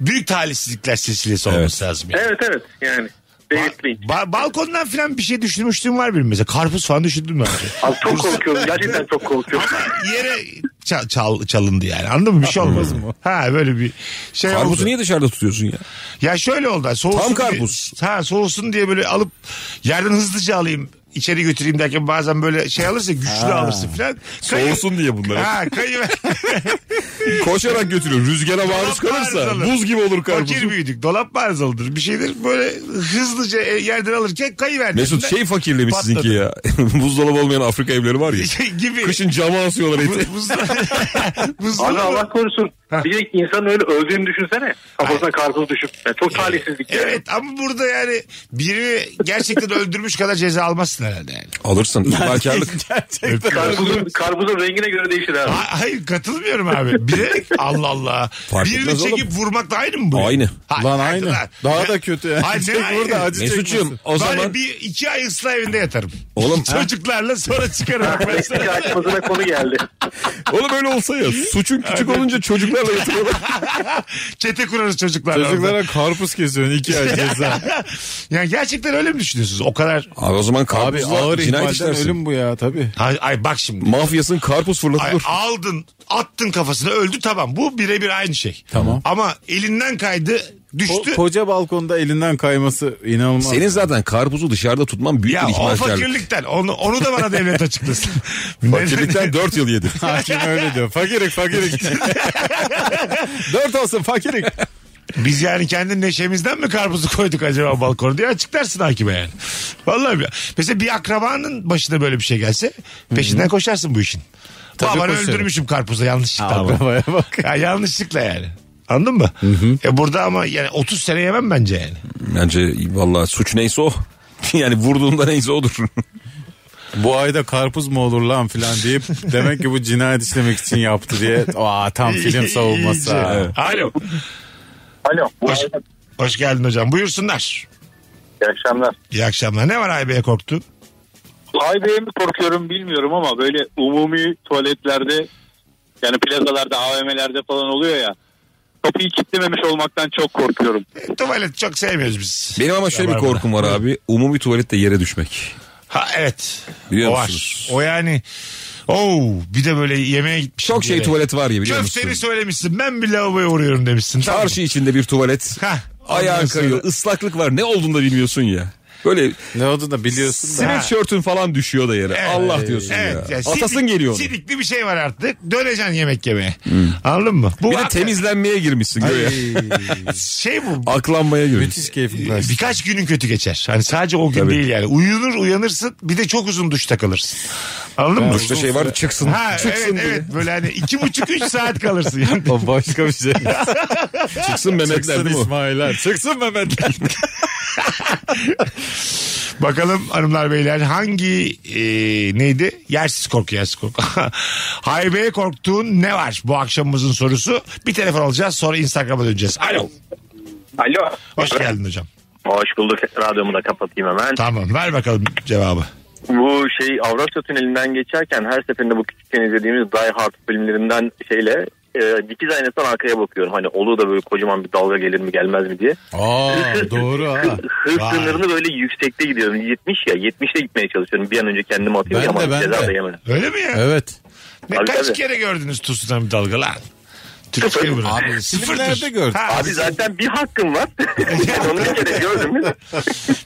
[SPEAKER 2] büyük talihsizlikler silsilesi olması lazım. yani.
[SPEAKER 8] Evet evet yani. David Lynch.
[SPEAKER 2] Ba- balkondan falan bir şey düşürmüştüm var benim mesela. Karpuz falan düşürdüm ben.
[SPEAKER 8] Abi çok korkuyorum gerçekten çok korkuyorum.
[SPEAKER 2] Yere ça- çal- çalındı yani anladın mı? Bir şey olmaz mı? Ha böyle bir şey oldu.
[SPEAKER 3] Karpuzu niye dışarıda tutuyorsun ya?
[SPEAKER 2] Ya şöyle oldu. Soğusun diye-
[SPEAKER 3] Tam karpuz.
[SPEAKER 2] ha soğusun diye böyle alıp yerden hızlıca alayım içeri götüreyim derken bazen böyle şey alırsın güçlü alırsın falan. Kayı-
[SPEAKER 3] Soğusun diye bunlar.
[SPEAKER 2] Ha kayı
[SPEAKER 3] Koşarak götürüyor. Rüzgara maruz
[SPEAKER 2] Dolap
[SPEAKER 3] kalırsa
[SPEAKER 2] arızalı.
[SPEAKER 3] buz gibi olur karpuz.
[SPEAKER 2] Fakir büyüdük. Dolap arızalıdır. Bir şeydir böyle hızlıca e, yerden alırken kayıverdi.
[SPEAKER 3] Mesut şey fakirlemiş
[SPEAKER 2] Patladı. Şey,
[SPEAKER 3] sizinki ya. Buzdolabı olmayan Afrika evleri var ya.
[SPEAKER 2] gibi.
[SPEAKER 3] Kışın cama asıyorlar eti.
[SPEAKER 2] Bu- buzda-
[SPEAKER 8] Abi
[SPEAKER 2] Buzdolabı-
[SPEAKER 8] Allah korusun. Bir de insan öyle öldüğünü düşünsene. Kafasına karpuz düşüp. Yani çok talihsizlik yani.
[SPEAKER 2] Ee, Evet ama burada yani birini gerçekten öldürmüş kadar ceza almazsın herhalde yani.
[SPEAKER 3] Alırsın. İhmalkarlık.
[SPEAKER 8] Karpuzun, karpuzun rengine göre değişir abi.
[SPEAKER 2] Ha- Hayır katılmıyorum abi. Biri Allah Allah.
[SPEAKER 3] Fark
[SPEAKER 2] birini
[SPEAKER 3] etmez oğlum.
[SPEAKER 2] çekip vurmakla aynı mı bu?
[SPEAKER 3] Aynı.
[SPEAKER 2] Ha,
[SPEAKER 4] Lan
[SPEAKER 2] hadi
[SPEAKER 4] aynı.
[SPEAKER 2] lan.
[SPEAKER 4] Daha da kötü yani.
[SPEAKER 2] Hayır, ne aynı?
[SPEAKER 4] burada acı
[SPEAKER 3] Mesut'cum
[SPEAKER 4] çekmesin.
[SPEAKER 3] o
[SPEAKER 2] Bari
[SPEAKER 3] zaman
[SPEAKER 2] bir iki ay ıslah evinde yatarım.
[SPEAKER 3] Oğlum-
[SPEAKER 2] Çocuklarla sonra çıkarım. Bak ben sana-
[SPEAKER 8] Karşımıza konu geldi.
[SPEAKER 3] oğlum öyle olsa ya suçun küçük olunca çocuklarla yatırıyorlar.
[SPEAKER 2] Çete kurarız çocuklarla. orada.
[SPEAKER 4] Çocuklara karpuz kesiyorsun iki ay ceza.
[SPEAKER 2] Yani gerçekten öyle mi düşünüyorsunuz? O kadar...
[SPEAKER 3] Abi o zaman
[SPEAKER 4] Abi
[SPEAKER 3] karpuzla
[SPEAKER 4] ağır
[SPEAKER 3] cinayet
[SPEAKER 4] ihmalden
[SPEAKER 3] işlersin.
[SPEAKER 4] ölüm bu ya tabii.
[SPEAKER 2] Ay, ay bak şimdi.
[SPEAKER 3] Mafyasın karpuz
[SPEAKER 2] Ay,
[SPEAKER 3] fırlatılır.
[SPEAKER 2] aldın, attın kafasına öldü tamam. Bu birebir aynı şey.
[SPEAKER 4] Tamam.
[SPEAKER 2] Ama elinden kaydı,
[SPEAKER 4] O
[SPEAKER 2] düştü.
[SPEAKER 4] koca balkonda elinden kayması inanılmaz.
[SPEAKER 3] Senin zaten karpuzu dışarıda tutman büyük
[SPEAKER 2] ya
[SPEAKER 3] bir
[SPEAKER 2] o
[SPEAKER 3] ihmalkarlık.
[SPEAKER 2] fakirlikten. Onu, onu da bana devlet açıklasın.
[SPEAKER 3] Fakirlikten 4 yıl yedi.
[SPEAKER 4] Hakim öyle diyor. Fakirik fakirik. Dört olsun fakirik.
[SPEAKER 2] Biz yani kendi neşemizden mi karpuzu koyduk acaba balkona diye açıklarsın hakime yani. Vallahi bir- mesela bir akrabanın başına böyle bir şey gelse peşinden koşarsın bu işin.
[SPEAKER 4] Tabii
[SPEAKER 2] Babanı
[SPEAKER 4] koşarım.
[SPEAKER 2] öldürmüşüm karpuzu yanlışlıkla ama.
[SPEAKER 4] Akrabaya bak.
[SPEAKER 2] Ya yanlışlıkla yani. Anladın mı? E burada ama yani 30 sene yemem bence yani.
[SPEAKER 3] Bence vallahi suç neyse o. Yani vurduğunda neyse odur.
[SPEAKER 4] Bu ayda karpuz mu olur lan filan deyip demek ki bu cinayet işlemek için yaptı diye. Aa tam film savunması.
[SPEAKER 2] İyice.
[SPEAKER 4] ha.
[SPEAKER 2] Alo.
[SPEAKER 8] Alo.
[SPEAKER 2] Hoş, hoş geldin hocam. Buyursunlar.
[SPEAKER 8] İyi akşamlar.
[SPEAKER 2] İyi akşamlar. Ne var Aybe'ye korktun?
[SPEAKER 8] Haybe'ye mi korkuyorum bilmiyorum ama böyle umumi tuvaletlerde yani plazalarda AVM'lerde falan oluyor ya. Kapıyı kilitlememiş olmaktan çok korkuyorum.
[SPEAKER 2] E, tuvalet çok sevmiyoruz biz.
[SPEAKER 3] Benim ama şöyle bir
[SPEAKER 2] Rabarba'da.
[SPEAKER 3] korkum var abi. Umumi tuvalette yere düşmek.
[SPEAKER 2] Ha evet.
[SPEAKER 3] Biliyor
[SPEAKER 2] o var.
[SPEAKER 3] musunuz?
[SPEAKER 2] O yani. Oo, bir de böyle yemeğe gitmiş.
[SPEAKER 3] Çok şey tuvalet var ya biliyor musun?
[SPEAKER 2] Köfteni söylemişsin. Ben bir lavaboya uğruyorum demişsin. Tamam. mı?
[SPEAKER 3] Çarşı içinde bir tuvalet.
[SPEAKER 2] Hah.
[SPEAKER 3] Ayağın
[SPEAKER 2] Ondan sonra-
[SPEAKER 3] kayıyor. ıslaklık var. Ne olduğunu da bilmiyorsun ya. Böyle
[SPEAKER 4] Ne oldu da biliyorsun da.
[SPEAKER 3] sweatshirt'ün falan düşüyor da yere.
[SPEAKER 2] Evet.
[SPEAKER 3] Allah diyorsun
[SPEAKER 2] Evet.
[SPEAKER 3] ya.
[SPEAKER 2] yani
[SPEAKER 3] Atasın
[SPEAKER 2] sidik-
[SPEAKER 3] geliyor. onu. Hmm.
[SPEAKER 2] Sidikli bir şey var artık. Döneceksin yemek yemeye. Anladın mı? Bu
[SPEAKER 3] Bir de
[SPEAKER 2] hak-
[SPEAKER 3] temizlenmeye girmişsin göğe.
[SPEAKER 2] şey bu.
[SPEAKER 3] Aklanmaya girmişsin.
[SPEAKER 4] Müthiş şey. keyfim kaçtı.
[SPEAKER 2] Birkaç günün kötü geçer. Hani sadece o gün
[SPEAKER 3] Tabii.
[SPEAKER 2] değil yani. Uyunur uyanırsın bir de çok uzun duşta kalırsın. Anladın mı?
[SPEAKER 3] Duşta şey var çıksın.
[SPEAKER 2] Ha evet
[SPEAKER 3] çıksın diye.
[SPEAKER 2] evet böyle hani iki buçuk üç saat kalırsın yani.
[SPEAKER 4] O başka bir şey.
[SPEAKER 3] Çıksın Mehmetler
[SPEAKER 4] Çıksın
[SPEAKER 3] değil mi? o?
[SPEAKER 4] İsmail'ler. Çıksın Mehmetler.
[SPEAKER 2] Bakalım hanımlar beyler hangi e, neydi? Yersiz korku yersiz korku. Haybe'ye korktuğun ne var bu akşamımızın sorusu? Bir telefon alacağız sonra Instagram'a döneceğiz. Alo.
[SPEAKER 7] Alo.
[SPEAKER 2] Hoş geldin hocam.
[SPEAKER 7] Hoş bulduk. Radyomu da kapatayım hemen.
[SPEAKER 2] Tamam ver bakalım cevabı.
[SPEAKER 7] Bu şey Avrasya Tüneli'nden geçerken her seferinde bu küçükken izlediğimiz Die Hard filmlerinden şeyle e, dikiz aynasından arkaya bakıyorum. Hani olur da böyle kocaman bir dalga gelir mi gelmez mi diye.
[SPEAKER 4] Aa doğru ha.
[SPEAKER 7] Hız
[SPEAKER 2] Vay.
[SPEAKER 7] sınırını böyle yüksekte gidiyorum. 70 ya 70'te gitmeye çalışıyorum. Bir an önce kendimi atayım
[SPEAKER 4] Ben
[SPEAKER 7] ya,
[SPEAKER 4] de,
[SPEAKER 7] ama
[SPEAKER 4] ben
[SPEAKER 7] ceza
[SPEAKER 4] de.
[SPEAKER 7] da yemedim.
[SPEAKER 2] Öyle mi ya?
[SPEAKER 4] Evet.
[SPEAKER 2] Ne,
[SPEAKER 7] Tabii,
[SPEAKER 2] kaç
[SPEAKER 7] tabii.
[SPEAKER 2] kere gördünüz tsunami dalga lan? Türkiye bırak.
[SPEAKER 4] Abi, filmlerde gördüm.
[SPEAKER 2] Ha,
[SPEAKER 7] Abi zaten bir hakkım var. Onu bir kere gördün mü?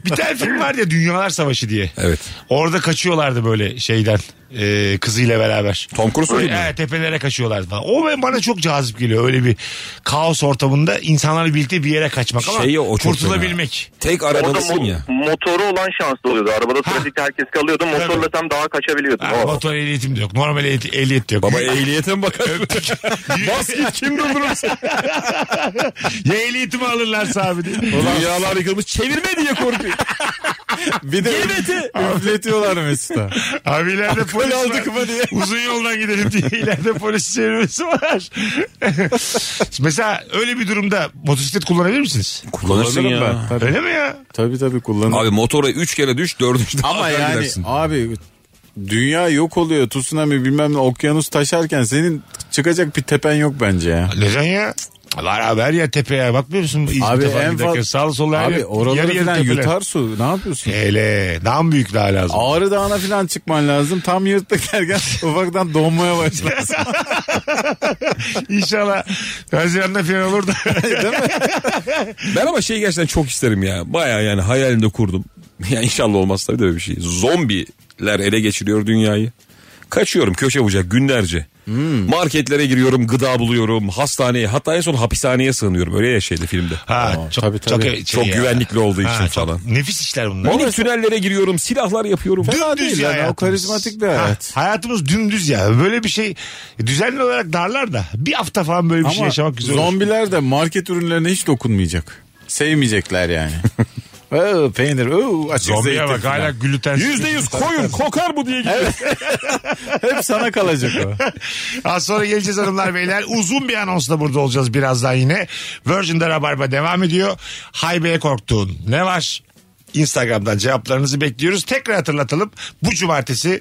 [SPEAKER 2] bir tane film var ya Dünyalar Savaşı diye.
[SPEAKER 3] Evet.
[SPEAKER 2] Orada kaçıyorlardı böyle şeyden e, kızıyla beraber.
[SPEAKER 3] Tom Cruise mu?
[SPEAKER 2] Evet tepelere kaçıyorlardı falan. O ben- bana çok cazip geliyor öyle bir kaos ortamında insanlarla birlikte bir yere kaçmak ama
[SPEAKER 3] Şeyi o çok
[SPEAKER 2] kurtulabilmek.
[SPEAKER 3] Tek
[SPEAKER 7] Orada
[SPEAKER 3] aradalısın
[SPEAKER 7] mo-
[SPEAKER 3] ya.
[SPEAKER 7] motoru olan şanslı oluyordu. Arabada trafikte herkes kalıyordu. Motorla sen daha kaçabiliyordun.
[SPEAKER 2] Ha,
[SPEAKER 7] O-
[SPEAKER 2] motor ehliyetim de yok. Normal ehliyet, ehliyet de yok.
[SPEAKER 3] Oh. Baba ehliyete mi bakar? Bas git kim durdurur seni?
[SPEAKER 2] ya ehliyetimi alırlarsa abi diye.
[SPEAKER 3] Dünyalar yıkılmış çevirme diye korkuyor.
[SPEAKER 4] Bir de üfletiyorlar Mesut'a.
[SPEAKER 2] Abi ileride polis
[SPEAKER 4] aldık
[SPEAKER 2] var.
[SPEAKER 4] mı diye.
[SPEAKER 2] Uzun yoldan gidelim diye ileride polis çevirmesi var. Mesela öyle bir durumda motosiklet kullanabilir misiniz?
[SPEAKER 3] Kullanırsın
[SPEAKER 4] Kullanırım
[SPEAKER 3] ya.
[SPEAKER 4] ben. Tabii.
[SPEAKER 2] Öyle mi ya?
[SPEAKER 4] Tabii tabii kullanırım.
[SPEAKER 3] Abi motora 3 kere düş 4.
[SPEAKER 4] Ama yani abi dünya yok oluyor. Tsunami bilmem ne okyanus taşarken senin çıkacak bir tepen yok bence ya.
[SPEAKER 2] Neden ya? Var haber ya tepeye bakmıyor musun?
[SPEAKER 4] Abi en
[SPEAKER 2] fazla.
[SPEAKER 4] fazla
[SPEAKER 2] Sağ sol her
[SPEAKER 4] Abi
[SPEAKER 2] yer-
[SPEAKER 4] oraları
[SPEAKER 2] yarı
[SPEAKER 4] falan
[SPEAKER 2] tepeler.
[SPEAKER 4] yutar su. Ne yapıyorsun?
[SPEAKER 2] Hele daha büyük daha lazım.
[SPEAKER 4] Ağrı Dağı'na falan çıkman lazım. Tam yırtık ergen ufaktan donmaya başlar.
[SPEAKER 2] İnşallah Haziran'da falan olur da.
[SPEAKER 3] Ben ama şeyi gerçekten çok isterim ya. Baya yani hayalimde kurdum. Ya inşallah olmaz tabii de böyle bir şey. Zombiler ele geçiriyor dünyayı. Kaçıyorum köşe bucak günlerce.
[SPEAKER 2] Hmm.
[SPEAKER 3] Marketlere giriyorum, gıda buluyorum, hastaneye, hatta en son hapishaneye sığınıyorum. Öyle ya şeyde filmde.
[SPEAKER 2] ha, çok,
[SPEAKER 4] tabii, tabii.
[SPEAKER 2] çok,
[SPEAKER 3] Çok
[SPEAKER 2] Şey ya.
[SPEAKER 3] güvenlikli olduğu için
[SPEAKER 2] Ha, çok
[SPEAKER 3] falan.
[SPEAKER 2] Nefis işler bunlar.
[SPEAKER 3] Minik tünellere giriyorum, silahlar yapıyorum.
[SPEAKER 4] Fena
[SPEAKER 2] Dümdüz
[SPEAKER 4] değil
[SPEAKER 2] ya
[SPEAKER 4] yani, o
[SPEAKER 2] hayatımız.
[SPEAKER 4] karizmatik bir hayat.
[SPEAKER 2] Ha, hayatımız dümdüz ya. Böyle bir şey düzenli olarak darlar da bir hafta falan böyle bir şey
[SPEAKER 4] Ama
[SPEAKER 2] yaşamak güzel olur.
[SPEAKER 4] zombiler de market ürünlerine hiç dokunmayacak. Sevmeyecekler yani. Oo, peynir, oo, açık
[SPEAKER 2] Zombiye
[SPEAKER 4] zeytin
[SPEAKER 2] bak
[SPEAKER 4] falan.
[SPEAKER 2] hala glütensiz.
[SPEAKER 3] %100 koyun kokar bu diye gidiyor.
[SPEAKER 4] Hep sana kalacak o.
[SPEAKER 2] Az sonra geleceğiz hanımlar beyler. Uzun bir anonsla burada olacağız birazdan yine. Virgin'de Rabarba devam ediyor. Haybe'ye korktuğun ne var? Instagram'dan cevaplarınızı bekliyoruz. Tekrar hatırlatalım. Bu cumartesi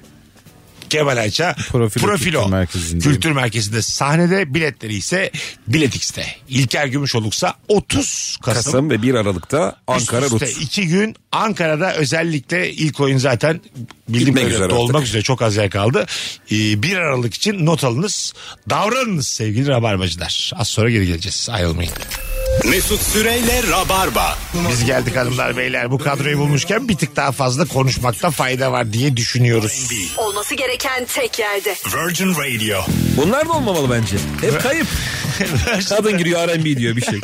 [SPEAKER 2] Kemal Ayça
[SPEAKER 4] Profilo
[SPEAKER 2] Profilo
[SPEAKER 4] Kültür
[SPEAKER 2] Kültür,
[SPEAKER 4] Merkezi'ndeyim.
[SPEAKER 2] Merkezi'nde sahnede biletleri ise Biletix'te. İlker Gümüşoluk'sa 30 Kasım,
[SPEAKER 3] Kasım ve 1 Aralık'ta Ankara
[SPEAKER 2] Üst üste
[SPEAKER 3] Rut.
[SPEAKER 2] iki gün Ankara'da özellikle ilk oyun zaten bildiğim
[SPEAKER 3] Bitmek
[SPEAKER 2] kadarıyla
[SPEAKER 3] üzere
[SPEAKER 2] dolmak
[SPEAKER 3] artık.
[SPEAKER 2] üzere çok az yer kaldı. Ee, 1 Aralık için not alınız. Davranınız sevgili rabarbacılar. Az sonra geri geleceğiz. Ayrılmayın.
[SPEAKER 1] Mesut Süreyle Rabarba.
[SPEAKER 2] Biz geldik hanımlar beyler. Bu kadroyu bulmuşken bir tık daha fazla konuşmakta fayda var diye düşünüyoruz.
[SPEAKER 9] Olması gereken tek yerde.
[SPEAKER 1] Virgin Radio.
[SPEAKER 3] Bunlar da olmamalı bence. Hep kayıp. Kadın giriyor R&B diyor bir şey.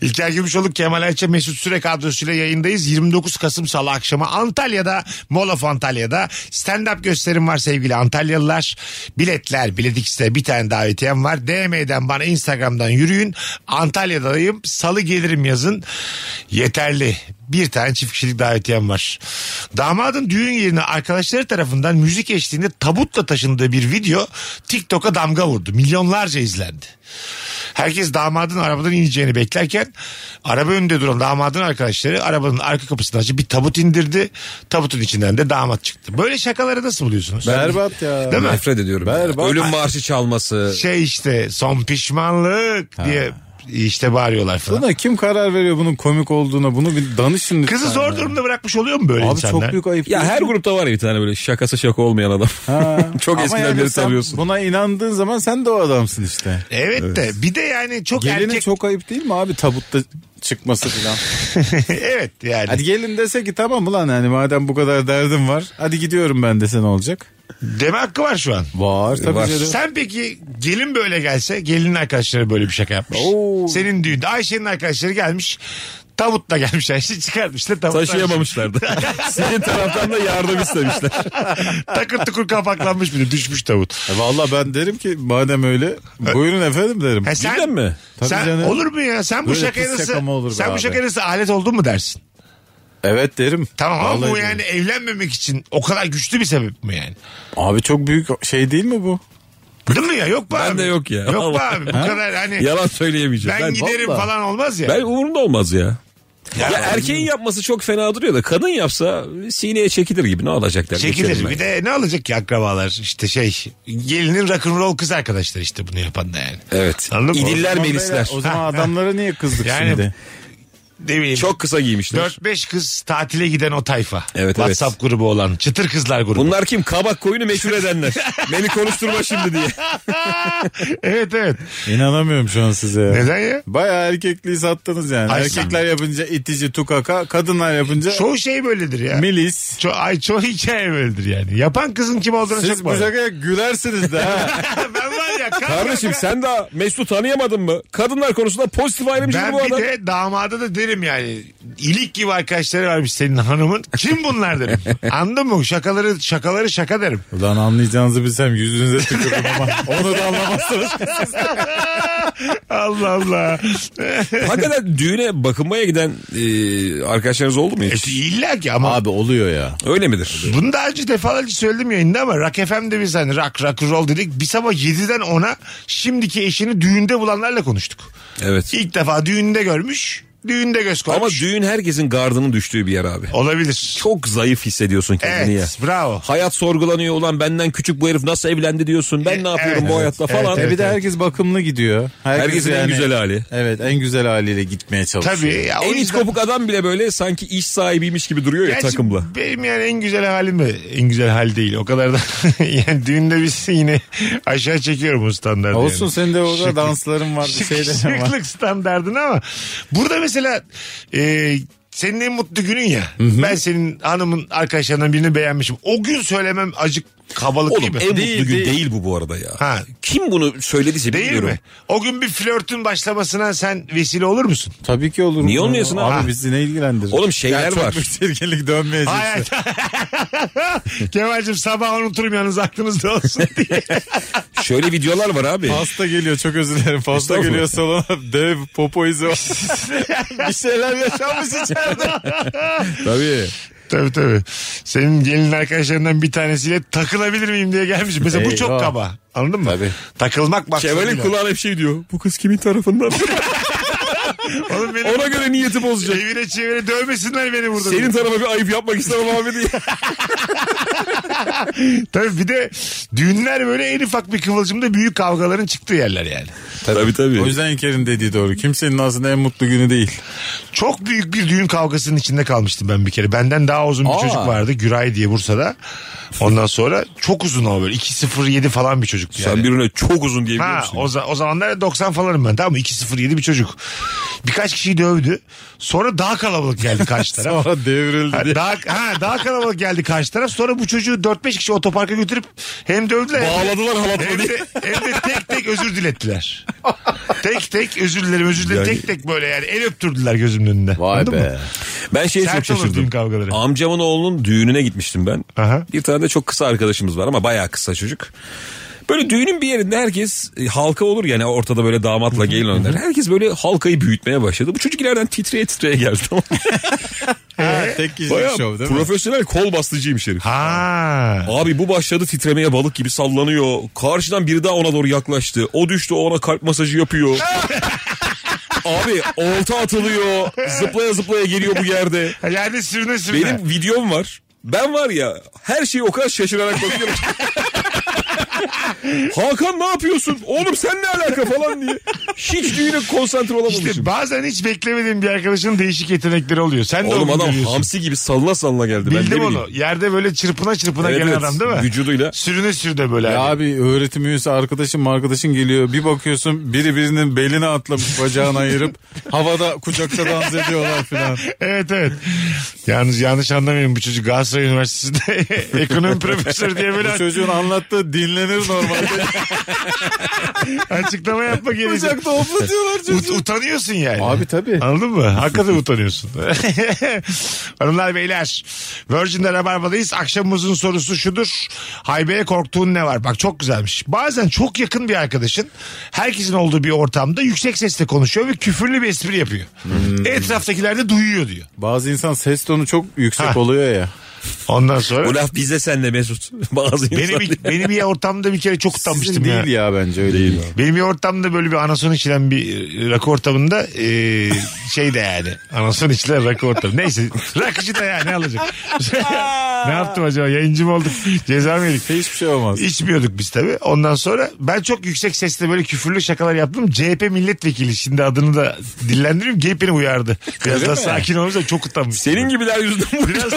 [SPEAKER 2] İlker Gümüşoluk, Kemal Ayça, Mesut Süre kadrosuyla yayındayız. 29 Kasım Salı akşamı Antalya'da, Mall of Antalya'da stand-up gösterim var sevgili Antalyalılar. Biletler, biletikste bir tane davetiyem var. DM'den bana Instagram'dan yürüyün. Antalya'dayım. Salı gelirim yazın. Yeterli. Bir tane çift kişilik davetiyem var. Damadın düğün yerine arkadaşları tarafından müzik eşliğinde tabutla taşındığı bir video TikTok'a damga vurdu. Milyonlarca izlendi. Herkes damadın arabadan ineceğini beklerken araba önünde duran damadın arkadaşları arabanın arka kapısını açıp bir tabut indirdi. Tabutun içinden de damat çıktı. Böyle şakaları nasıl buluyorsunuz?
[SPEAKER 4] Berbat ya.
[SPEAKER 2] Değil mi?
[SPEAKER 3] Nefret ediyorum. ya.
[SPEAKER 4] Berbat.
[SPEAKER 3] Ölüm marşı çalması.
[SPEAKER 2] Şey işte son pişmanlık diye işte bağırıyorlar falan.
[SPEAKER 4] Buna kim karar veriyor bunun komik olduğuna? Bunu bir danışın lütfen.
[SPEAKER 2] Kızı zor
[SPEAKER 4] ya.
[SPEAKER 2] durumda bırakmış oluyor mu böyle
[SPEAKER 4] Abi
[SPEAKER 2] insanlar?
[SPEAKER 4] çok büyük ayıp.
[SPEAKER 3] Ya her grupta var ya bir tane böyle şakası şaka olmayan adam. Çok eskiden beri
[SPEAKER 4] sen
[SPEAKER 3] tanıyorsun.
[SPEAKER 4] Buna inandığın zaman sen de o adamsın işte.
[SPEAKER 2] Evet, de bir de yani çok
[SPEAKER 4] Geline
[SPEAKER 2] erkek.
[SPEAKER 4] çok ayıp değil mi abi tabutta çıkması falan.
[SPEAKER 2] evet yani.
[SPEAKER 4] Hadi gelin dese ki tamam ulan hani madem bu kadar derdim var. Hadi gidiyorum ben dese ne olacak?
[SPEAKER 2] Deme hakkı var şu an.
[SPEAKER 4] Var tabii
[SPEAKER 3] Var.
[SPEAKER 4] canım.
[SPEAKER 2] Sen peki gelin böyle gelse gelinin arkadaşları böyle bir şaka yapmış.
[SPEAKER 4] Oo.
[SPEAKER 2] Senin düğünde Ayşe'nin arkadaşları gelmiş. Tabutla gelmiş Ayşe çıkartmış da tabutla.
[SPEAKER 3] Taşıyamamışlardı. Senin taraftan da yardım istemişler.
[SPEAKER 2] Takır tukur kapaklanmış bir de düşmüş tavut.
[SPEAKER 4] E Valla ben derim ki madem öyle buyurun efendim derim.
[SPEAKER 2] Ha, E sen,
[SPEAKER 3] Cidden mi?
[SPEAKER 4] Tabii
[SPEAKER 2] sen-
[SPEAKER 4] canım.
[SPEAKER 2] olur mu ya? Sen bu
[SPEAKER 4] Böyle
[SPEAKER 2] şakaya
[SPEAKER 4] pis
[SPEAKER 2] nasıl,
[SPEAKER 4] şaka mı olur be
[SPEAKER 2] sen bu
[SPEAKER 4] abi?
[SPEAKER 2] şakaya nasıl alet oldun mu dersin?
[SPEAKER 4] Evet derim.
[SPEAKER 2] Tamam ama
[SPEAKER 4] Vallahi
[SPEAKER 2] bu
[SPEAKER 4] derim.
[SPEAKER 2] yani evlenmemek için o kadar güçlü bir sebep mi yani?
[SPEAKER 4] Abi çok büyük şey değil mi bu?
[SPEAKER 2] Değil mi ya? Yok be
[SPEAKER 3] Ben
[SPEAKER 2] abi.
[SPEAKER 3] de yok ya.
[SPEAKER 2] Yok be
[SPEAKER 3] Vallahi.
[SPEAKER 2] abi. Bu kadar hani
[SPEAKER 3] Yalan söyleyemeyeceğim.
[SPEAKER 2] ben, giderim
[SPEAKER 3] Vallahi.
[SPEAKER 2] falan olmaz ya.
[SPEAKER 3] Ben umurumda olmaz ya.
[SPEAKER 2] Ya,
[SPEAKER 3] Ya erkeğin yapması çok fena duruyor da kadın yapsa sineye çekilir gibi ne alacaklar? Geçerim
[SPEAKER 2] Çekilir.
[SPEAKER 3] ben.
[SPEAKER 2] Bir de ne alacak ki akrabalar? İşte şey gelinin rock'n'roll kız arkadaşlar işte bunu yapan da yani.
[SPEAKER 3] Evet.
[SPEAKER 2] Anladın mı?
[SPEAKER 3] İdiller melisler.
[SPEAKER 4] O zaman adamlara niye kızdık
[SPEAKER 2] Yani-
[SPEAKER 4] şimdi?
[SPEAKER 2] Ne bileyim.
[SPEAKER 3] Çok kısa giymişler.
[SPEAKER 2] 4-5 kız tatile giden o tayfa.
[SPEAKER 3] Evet,
[SPEAKER 2] WhatsApp grubu olan çıtır kızlar grubu.
[SPEAKER 3] Bunlar kim? Kabak koyunu meşhur edenler. Beni konuşturma şimdi diye.
[SPEAKER 2] evet evet.
[SPEAKER 4] İnanamıyorum şu an size ya.
[SPEAKER 2] Neden ya?
[SPEAKER 4] Baya erkekliği sattınız yani.
[SPEAKER 2] Ay,
[SPEAKER 4] Erkekler yapınca itici tukaka, kadınlar yapınca
[SPEAKER 2] Çoğu şey böyledir ya.
[SPEAKER 4] milis.
[SPEAKER 2] Ço ay çoğu hikaye böyledir yani. Yapan kızın kim olduğunu
[SPEAKER 4] Siz
[SPEAKER 2] çok
[SPEAKER 4] bu
[SPEAKER 2] bağlı.
[SPEAKER 4] şakaya gülersiniz de ha.
[SPEAKER 2] ben var ya. kanka
[SPEAKER 3] Kardeşim sen daha Mesut tanıyamadın mı? Kadınlar konusunda pozitif ayrımcı
[SPEAKER 2] Ben
[SPEAKER 3] şey bu
[SPEAKER 2] bir
[SPEAKER 3] adam.
[SPEAKER 2] de damada da derim yani ilik gibi arkadaşları varmış senin hanımın. Kim bunlar derim. Anladın mı? Şakaları şakaları şaka derim.
[SPEAKER 4] Ulan anlayacağınızı bilsem yüzünüze tükürürüm ama onu da anlamazsınız.
[SPEAKER 2] Allah Allah.
[SPEAKER 3] Hakikaten düğüne bakınmaya giden e, arkadaşlarınız oldu mu
[SPEAKER 2] E,
[SPEAKER 3] hiç?
[SPEAKER 2] İlla ki ama
[SPEAKER 4] Abi oluyor ya.
[SPEAKER 3] Öyle midir?
[SPEAKER 2] Bunu daha önce defalarca söyledim yayında ama Rock FM'de biz hani rock, rock roll dedik. Bir sabah 7'den 10'a şimdiki eşini düğünde bulanlarla konuştuk.
[SPEAKER 3] Evet.
[SPEAKER 2] İlk defa düğünde görmüş, düğünde göz koymuş.
[SPEAKER 3] Ama düğün herkesin gardının düştüğü bir yer abi.
[SPEAKER 2] Olabilir.
[SPEAKER 3] Çok zayıf hissediyorsun kendini ya.
[SPEAKER 2] Evet, bravo.
[SPEAKER 3] Hayat sorgulanıyor ulan benden küçük bu herif nasıl evlendi diyorsun. Ben ne yapıyorum
[SPEAKER 2] evet,
[SPEAKER 3] bu hayatta
[SPEAKER 2] evet,
[SPEAKER 3] falan.
[SPEAKER 4] E
[SPEAKER 2] evet.
[SPEAKER 4] bir de herkes bakımlı gidiyor. Herkes
[SPEAKER 3] Herkesin en
[SPEAKER 4] yani-
[SPEAKER 3] güzel hali.
[SPEAKER 4] Evet en güzel haliyle gitmeye çalışıyor.
[SPEAKER 2] Tabii. Ya, o
[SPEAKER 3] En iç
[SPEAKER 2] yüzden-
[SPEAKER 3] kopuk adam bile böyle sanki iş sahibiymiş gibi duruyor ya
[SPEAKER 2] Gerçi
[SPEAKER 3] takımla.
[SPEAKER 2] Benim yani en güzel halim de en güzel hal değil. O kadar da yani düğünde biz yine aşağı çekiyorum o standartı.
[SPEAKER 4] Olsun
[SPEAKER 2] yani.
[SPEAKER 4] senin de orada
[SPEAKER 2] Şıklık-
[SPEAKER 4] dansların var bir
[SPEAKER 2] Şık,
[SPEAKER 4] şeylerin var.
[SPEAKER 2] şıklık standardını ama burada mesela e, senin en mutlu günün ya. Ben senin hanımın arkadaşlarından birini beğenmişim. O gün söylemem acık kabalık
[SPEAKER 3] Oğlum
[SPEAKER 2] değil
[SPEAKER 3] en
[SPEAKER 2] mi?
[SPEAKER 3] mutlu
[SPEAKER 4] Değil,
[SPEAKER 3] gün
[SPEAKER 4] değil.
[SPEAKER 3] değil. bu bu arada ya.
[SPEAKER 2] Ha.
[SPEAKER 3] Kim bunu söylediyse
[SPEAKER 2] Değil
[SPEAKER 3] bilmiyorum.
[SPEAKER 2] mi? O gün bir flörtün başlamasına sen vesile olur musun?
[SPEAKER 4] Tabii ki olur.
[SPEAKER 3] Niye olmuyorsun
[SPEAKER 4] abi?
[SPEAKER 3] abi?
[SPEAKER 4] Abi bizi ne ilgilendirir?
[SPEAKER 3] Oğlum şeyler
[SPEAKER 4] Ya çok
[SPEAKER 3] var.
[SPEAKER 4] Çirkinlik dönmeyecek.
[SPEAKER 2] Hayır. Kemal'cim sabah unuturum yalnız aklınızda olsun diye.
[SPEAKER 3] Şöyle videolar var abi.
[SPEAKER 4] Pasta geliyor çok özür dilerim. Pasta
[SPEAKER 3] Estağfurullah.
[SPEAKER 4] geliyor salona dev popo izi var. bir şeyler yaşanmış içeride.
[SPEAKER 3] Tabii.
[SPEAKER 2] tabii tabii. Senin gelin arkadaşlarından bir tanesiyle takılabilir miyim diye gelmiş. Mesela bu çok
[SPEAKER 4] Eyvah.
[SPEAKER 2] kaba. Anladın mı?
[SPEAKER 4] Tabii.
[SPEAKER 2] Takılmak
[SPEAKER 3] Kemal'in
[SPEAKER 2] maksadıyla.
[SPEAKER 3] kulağına bir şey diyor. Bu kız kimin tarafından?
[SPEAKER 2] Oğlum beni
[SPEAKER 3] Ona göre niyeti bozacak.
[SPEAKER 2] çevire çevire dövmesinler beni burada.
[SPEAKER 3] Senin tarafa bir ayıp yapmak istemem abi diye.
[SPEAKER 2] Tabii bir de düğünler böyle en ufak bir kıvılcımda büyük kavgaların çıktığı yerler yani.
[SPEAKER 3] tabii tabii.
[SPEAKER 4] O yüzden İlker'in dediği doğru. Kimsenin aslında en mutlu günü değil.
[SPEAKER 2] Çok büyük bir düğün kavgasının içinde kalmıştım ben bir kere. Benden daha uzun bir
[SPEAKER 4] Aa.
[SPEAKER 2] çocuk vardı Güray diye Bursa'da. Ondan sonra çok uzun o böyle 2.07 falan bir çocuktu yani.
[SPEAKER 3] Sen birine çok uzun diyebiliyor
[SPEAKER 2] Ha,
[SPEAKER 3] musun?
[SPEAKER 2] o, za- o zamanlar 90 falanım ben tamam mı? 2.07 bir çocuk. Birkaç kişiyi dövdü. Sonra daha kalabalık geldi karşı taraf.
[SPEAKER 4] Sonra devrildi.
[SPEAKER 2] Ha, daha, ha, daha kalabalık geldi karşı taraf. Sonra bu çocuğu 4-5 kişi otoparka götürüp hem dövdüler hem de-
[SPEAKER 3] Bağladılar halatla
[SPEAKER 2] Hem
[SPEAKER 3] diye.
[SPEAKER 2] de, hem de tek tek özür dilettiler. tek tek özür dilerim özür dilerim.
[SPEAKER 3] Yani-
[SPEAKER 2] Tek tek böyle yani el öptürdüler gözümün önünde. Anladın mı?
[SPEAKER 3] Ben
[SPEAKER 4] Şey
[SPEAKER 3] şeye
[SPEAKER 2] Sert
[SPEAKER 3] çok
[SPEAKER 2] olur düğün
[SPEAKER 3] şaşırdım.
[SPEAKER 2] kavgaları.
[SPEAKER 3] Amcamın oğlunun düğününe gitmiştim ben.
[SPEAKER 2] Aha.
[SPEAKER 3] Bir tane de çok kısa arkadaşımız var ama bayağı kısa çocuk. Böyle düğünün bir yerinde herkes e, halka olur yani ortada böyle damatla gelin oynar. Herkes böyle halkayı büyütmeye başladı. Bu çocuk ileriden titreye titreye geldi. tamam mı?
[SPEAKER 2] Ee?
[SPEAKER 4] Ha, tek kişilik
[SPEAKER 3] Bayağı
[SPEAKER 4] şov değil mi?
[SPEAKER 3] profesyonel kol bastıcıymış herif.
[SPEAKER 2] Ha.
[SPEAKER 3] Abi bu başladı titremeye balık gibi sallanıyor. Karşıdan biri daha ona doğru yaklaştı. O düştü o ona kalp masajı yapıyor. Abi olta atılıyor. Zıplaya zıplaya geliyor bu yerde.
[SPEAKER 2] Yerde sürüne sürüne.
[SPEAKER 3] Benim videom var. Ben var ya her şeyi o kadar şaşırarak bakıyorum. Hakan ne yapıyorsun? Oğlum sen ne alaka falan diye. Hiç düğüne konsantre olamamışım.
[SPEAKER 2] İşte bazen hiç beklemediğim bir arkadaşının değişik yetenekleri oluyor. Sen de
[SPEAKER 3] Oğlum
[SPEAKER 2] onu
[SPEAKER 3] adam
[SPEAKER 2] görüyorsun.
[SPEAKER 3] hamsi gibi sallana sallana geldi. ben
[SPEAKER 2] Bildim
[SPEAKER 3] ne
[SPEAKER 2] onu.
[SPEAKER 3] bileyim.
[SPEAKER 2] Yerde böyle çırpına çırpına
[SPEAKER 3] Evet,
[SPEAKER 2] gelen
[SPEAKER 3] evet.
[SPEAKER 2] adam değil mi?
[SPEAKER 3] Vücuduyla.
[SPEAKER 2] Sürüne sürüne böyle.
[SPEAKER 4] Ya
[SPEAKER 2] hani.
[SPEAKER 4] abi öğretim üyesi arkadaşın arkadaşın geliyor. Bir bakıyorsun biri birinin beline atlamış bacağını ayırıp havada kucakta dans ediyorlar falan.
[SPEAKER 2] Evet evet. Yalnız yanlış anlamayın bu çocuk Galatasaray Üniversitesi'nde ekonomi profesörü diye böyle
[SPEAKER 4] Bu çocuğun anlattığı dinlenir normalde.
[SPEAKER 2] açıklama yapma gerekiyor.
[SPEAKER 4] Kucakta hoplatıyorlar
[SPEAKER 2] Ut-
[SPEAKER 4] çocuğu.
[SPEAKER 2] utanıyorsun yani.
[SPEAKER 4] Abi tabii.
[SPEAKER 2] Anladın mı? Hakikaten utanıyorsun. Hanımlar beyler Virgin'de Rabarba'dayız. Akşamımızın sorusu şudur. Haybe'ye korktuğun ne var? Bak çok güzelmiş. Bazen çok yakın bir arkadaşın herkesin olduğu bir ortamda yüksek sesle konuşuyor ve küfürlü bir espri yapıyor.
[SPEAKER 4] Hmm.
[SPEAKER 2] Etraftakiler de duyuyor diyor.
[SPEAKER 4] Bazı insan ses tonu çok yüksek
[SPEAKER 2] Ha.
[SPEAKER 4] oluyor ya.
[SPEAKER 2] Ondan sonra
[SPEAKER 3] Bu laf bizde senle Mesut. Bazı
[SPEAKER 2] beni
[SPEAKER 3] insan-
[SPEAKER 2] bir, beni bir ortamda bir kere çok utanmıştım
[SPEAKER 4] Sizin
[SPEAKER 2] ya.
[SPEAKER 4] değil ya bence öyle değil.
[SPEAKER 2] Benim bir ortamda böyle bir anason içilen bir e, rakı ortamında e, şey de yani anason içilen rakı ortamı. Neyse rakıcı da yani ne alacak? ne yaptım acaba yayıncı mı olduk ceza mı yedik?
[SPEAKER 4] Hiçbir şey olmaz.
[SPEAKER 2] İçmiyorduk biz tabii. Ondan sonra ben çok yüksek sesle böyle küfürlü şakalar yaptım. CHP milletvekili şimdi adını da dillendireyim. Gay beni uyardı. Biraz daha sakin olursa çok utanmış.
[SPEAKER 3] Senin gibiler yüzünden bu
[SPEAKER 2] Biraz